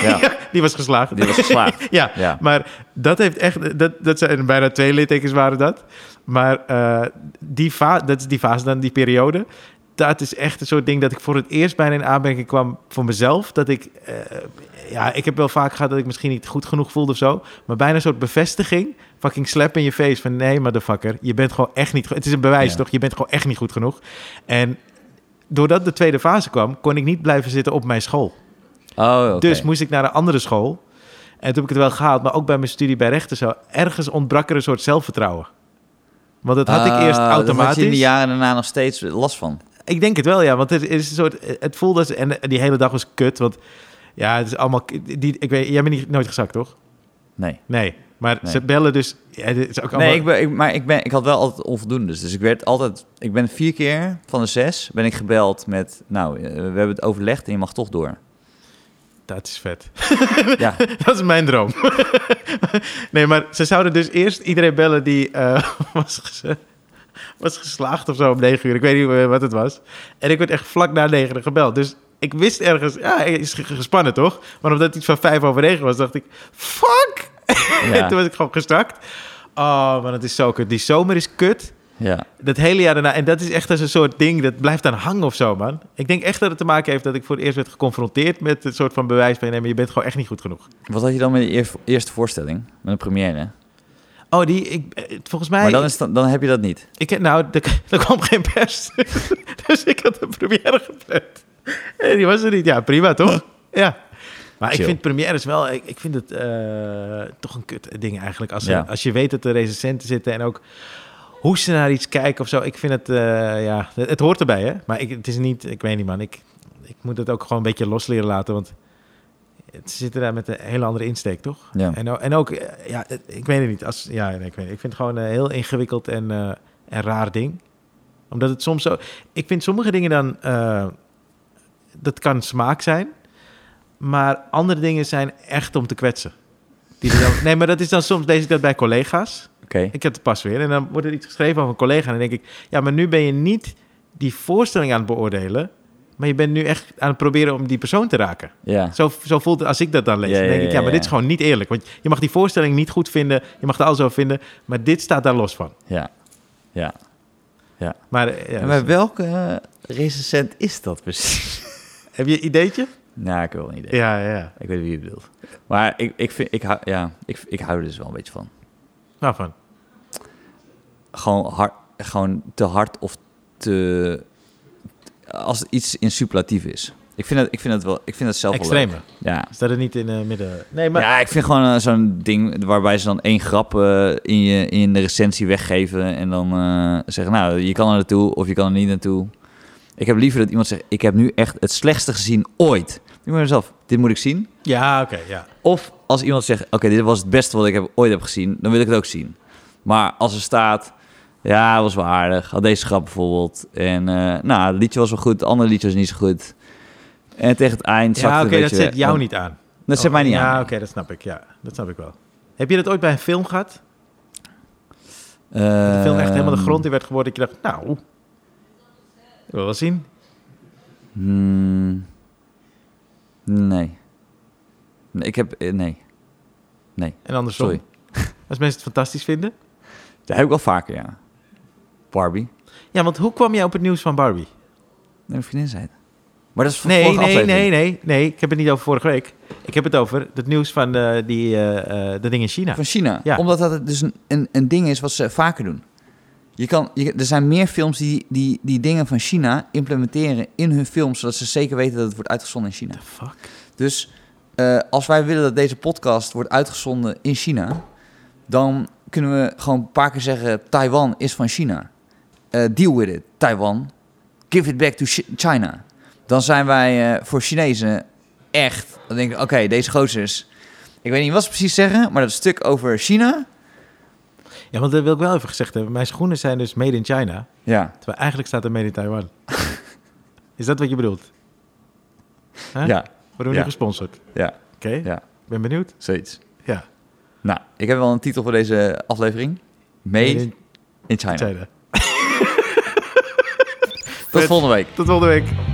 Speaker 2: Ja,
Speaker 1: die was geslaagd.
Speaker 2: die was geslaagd.
Speaker 1: Ja,
Speaker 2: Ja.
Speaker 1: maar dat heeft echt... Dat, dat zijn bijna twee littekens waren dat. Maar eh, die fa- dat is die fase dan, die periode. Dat is echt een soort ding dat ik voor het eerst bijna in aanmerking kwam voor mezelf. Dat ik... eh, ja, ik heb wel vaak gehad dat ik misschien niet goed genoeg voelde of zo. Maar bijna een soort bevestiging. Fucking slap in je face van... Nee, motherfucker, je bent gewoon echt niet... go- Het is een bewijs,
Speaker 2: Ja.
Speaker 1: toch? Je bent gewoon echt niet goed genoeg. En doordat de tweede fase kwam... kon ik niet blijven zitten op mijn school.
Speaker 2: Oh, oké.
Speaker 1: Dus moest ik naar een andere school. En toen heb ik het wel gehaald, maar ook bij mijn studie bij rechten zo. Ergens ontbrak er een soort zelfvertrouwen. Want dat had ik
Speaker 2: Ah,
Speaker 1: eerst
Speaker 2: dat Had je in de
Speaker 1: automatisch.
Speaker 2: jaren daarna nog steeds last van?
Speaker 1: Ik denk het wel, ja. Want het is een soort. Het voelde als. En die hele dag was kut. Want ja, het is allemaal. Die, ik weet, jij bent niet, nooit gezakt, toch?
Speaker 2: Nee.
Speaker 1: Nee. Maar
Speaker 2: Nee.
Speaker 1: ze bellen dus. Ja, dit is ook allemaal,
Speaker 2: Nee, ik ben, ik, maar ik, ben, ik had wel altijd onvoldoendes. Dus ik werd altijd... Ik ben vier keer van de zes ben ik gebeld met... Nou, eh, we hebben het overlegd en je mag toch door.
Speaker 1: Dat is vet.
Speaker 2: Ja,
Speaker 1: Dat is mijn droom. nee, maar ze zouden dus eerst iedereen bellen die eh, was, ge- was geslaagd of zo om negen uur. Ik weet niet meer wat het was. En ik werd echt vlak na negenen gebeld. Dus ik wist ergens, ja, hij is ge- gespannen toch? Maar omdat het iets van vijf over negen was, dacht ik, fuck!
Speaker 2: Ja.
Speaker 1: en toen was ik gewoon gestrakt. Oh, maar het is zo kut. Die zomer is kut.
Speaker 2: ja.
Speaker 1: Dat hele jaar daarna. En dat is echt als een soort ding. Dat blijft aan hangen of zo, man. Ik denk echt dat het te maken heeft dat ik voor het eerst werd geconfronteerd met een soort van bewijs van... Nee, maar je bent gewoon echt niet goed genoeg.
Speaker 2: Wat had je dan met de eer- eerste voorstelling? Met een première?
Speaker 1: Oh, die, ik, eh, volgens mij...
Speaker 2: Maar dan, is, dan, dan heb je dat niet.
Speaker 1: ik, nou, er, er kwam geen pers. dus ik had de première gepland. En die was er niet. Ja, prima, toch? ja. Maar ik
Speaker 2: Chill.
Speaker 1: vind premières wel... Ik, ik vind het eh, toch een kut ding eigenlijk. Als, er-
Speaker 2: Ja.
Speaker 1: als je weet dat er recensenten zitten en ook... Hoe ze naar iets kijken of zo. Ik vind het... eh, ja, het, het hoort erbij, hè? Maar ik, het is niet... Ik weet niet, man. Ik, ik moet het ook gewoon een beetje los leren laten. Want ze zitten daar met een hele andere insteek, toch?
Speaker 2: Ja.
Speaker 1: En, o- en ook, eh, ja, het- ik weet het niet. Als, ja, nee, ik, weet het. ik vind het gewoon een heel ingewikkeld en eh, een raar ding. Omdat het soms zo... Ik vind sommige dingen dan... eh, dat kan smaak zijn. Maar andere dingen zijn echt om te kwetsen. Die er dan, nee, maar dat is dan soms... Lees ik dat bij collega's.
Speaker 2: Oké.
Speaker 1: Ik heb het pas weer. En dan wordt er iets geschreven over een collega. En dan denk ik, ja, maar nu ben je niet die voorstelling aan het beoordelen. Maar je bent nu echt aan het proberen om die persoon te raken.
Speaker 2: Ja.
Speaker 1: Zo, zo voelt het als ik dat dan lees.
Speaker 2: Ja,
Speaker 1: dan denk
Speaker 2: ja,
Speaker 1: ik, ja,
Speaker 2: ja,
Speaker 1: maar
Speaker 2: ja.
Speaker 1: dit is gewoon niet eerlijk. Want je mag die voorstelling niet goed vinden. Je mag er alles over vinden. Maar dit staat daar los van.
Speaker 2: Ja. Ja.
Speaker 1: Maar eh, ja, dus-
Speaker 2: En bij welke eh, recensent is dat precies?
Speaker 1: heb je een ideetje?
Speaker 2: nou, ik heb wel een idee.
Speaker 1: Ja, ja, ja.
Speaker 2: Ik weet wie je bedoelt. Maar ik, ik, vind, ik, hou, ja, ik, ik hou er dus wel een beetje van.
Speaker 1: Waarvan?
Speaker 2: Gewoon, hard, gewoon te hard of te... Als iets in superlatief is. Ik vind dat, ik vind dat, wel, ik vind dat zelf wel leuk.
Speaker 1: Extreme.
Speaker 2: Ja.
Speaker 1: Staat het niet in het midden? Nee, maar...
Speaker 2: ja, ik vind gewoon eh, zo'n ding waarbij ze dan één grap eh, in, je, in de recensie weggeven. En dan eh, zeggen, nou, je kan er naartoe of je kan er niet naartoe. Ik heb liever dat iemand zegt, ik heb nu echt het slechtste gezien ooit. Ik ben mezelf, dit moet ik zien.
Speaker 1: Ja, oké, ja.
Speaker 2: Of als iemand zegt, oké, dit was het beste wat ik heb, ooit heb gezien, dan wil ik het ook zien. Maar als er staat, ja, het was wel aardig, had deze grap bijvoorbeeld. En eh, nou, het liedje was wel goed, het andere liedje was niet zo goed. En tegen het eind zakte
Speaker 1: Ja,
Speaker 2: het
Speaker 1: oké,
Speaker 2: een beetje
Speaker 1: dat zit
Speaker 2: weg.
Speaker 1: jou
Speaker 2: Dan-
Speaker 1: niet aan. Oh,
Speaker 2: Dat zit mij niet
Speaker 1: ja,
Speaker 2: aan.
Speaker 1: oké, dat snap ik. Ja, dat snap ik wel. Heb je dat ooit bij een film gehad? Dat de film echt helemaal
Speaker 2: Ehm,
Speaker 1: de grond in werd geboord. Dat je dacht, nou, ik wil wel zien.
Speaker 2: Hmm. nee. nee. Ik heb... eh, Nee.
Speaker 1: En andersom.
Speaker 2: Sorry.
Speaker 1: Als mensen het fantastisch vinden.
Speaker 2: Dat heb ik wel vaker, ja. Barbie.
Speaker 1: Ja, want hoe kwam jij op het nieuws van Barbie?
Speaker 2: Nee, mijn vriendin zei het. Maar dat is van
Speaker 1: Nee,
Speaker 2: vorige
Speaker 1: nee,
Speaker 2: aflevering.
Speaker 1: nee, nee, nee. Ik heb het niet over vorige week. Ik heb het over het nieuws van eh, die, eh, eh, dat ding in China.
Speaker 2: Van China.
Speaker 1: Ja.
Speaker 2: Omdat dat dus een, een, een ding is wat ze vaker doen. Je kan, je, er zijn meer films die, die die dingen van China implementeren in hun films, zodat ze zeker weten dat het wordt uitgezonden in China.
Speaker 1: The fuck?
Speaker 2: Dus eh, als wij willen dat deze podcast wordt uitgezonden in China, dan kunnen we gewoon een paar keer zeggen... Taiwan is van China. Eh, deal with it, Taiwan. Give it back to Chi- China. Dan zijn wij eh, voor Chinezen echt... Dan denk ik, oké, deze gozers... Ik weet niet wat ze precies zeggen, maar dat stuk over China...
Speaker 1: Ja, want dat wil ik wel even gezegd hebben. Mijn schoenen zijn dus made in China.
Speaker 2: Ja,
Speaker 1: Terwijl eigenlijk staat er made in Taiwan. is dat wat je bedoelt? Hè?
Speaker 2: ja,
Speaker 1: Waarom
Speaker 2: Ja.
Speaker 1: nu gesponsord? Oké,
Speaker 2: ja, Ja.
Speaker 1: ik ben benieuwd.
Speaker 2: zoiets.
Speaker 1: Ja.
Speaker 2: Nou, ik heb wel een titel voor deze aflevering. Made
Speaker 1: Made in
Speaker 2: in China.
Speaker 1: China.
Speaker 2: Tot volgende week.
Speaker 1: Tot volgende week.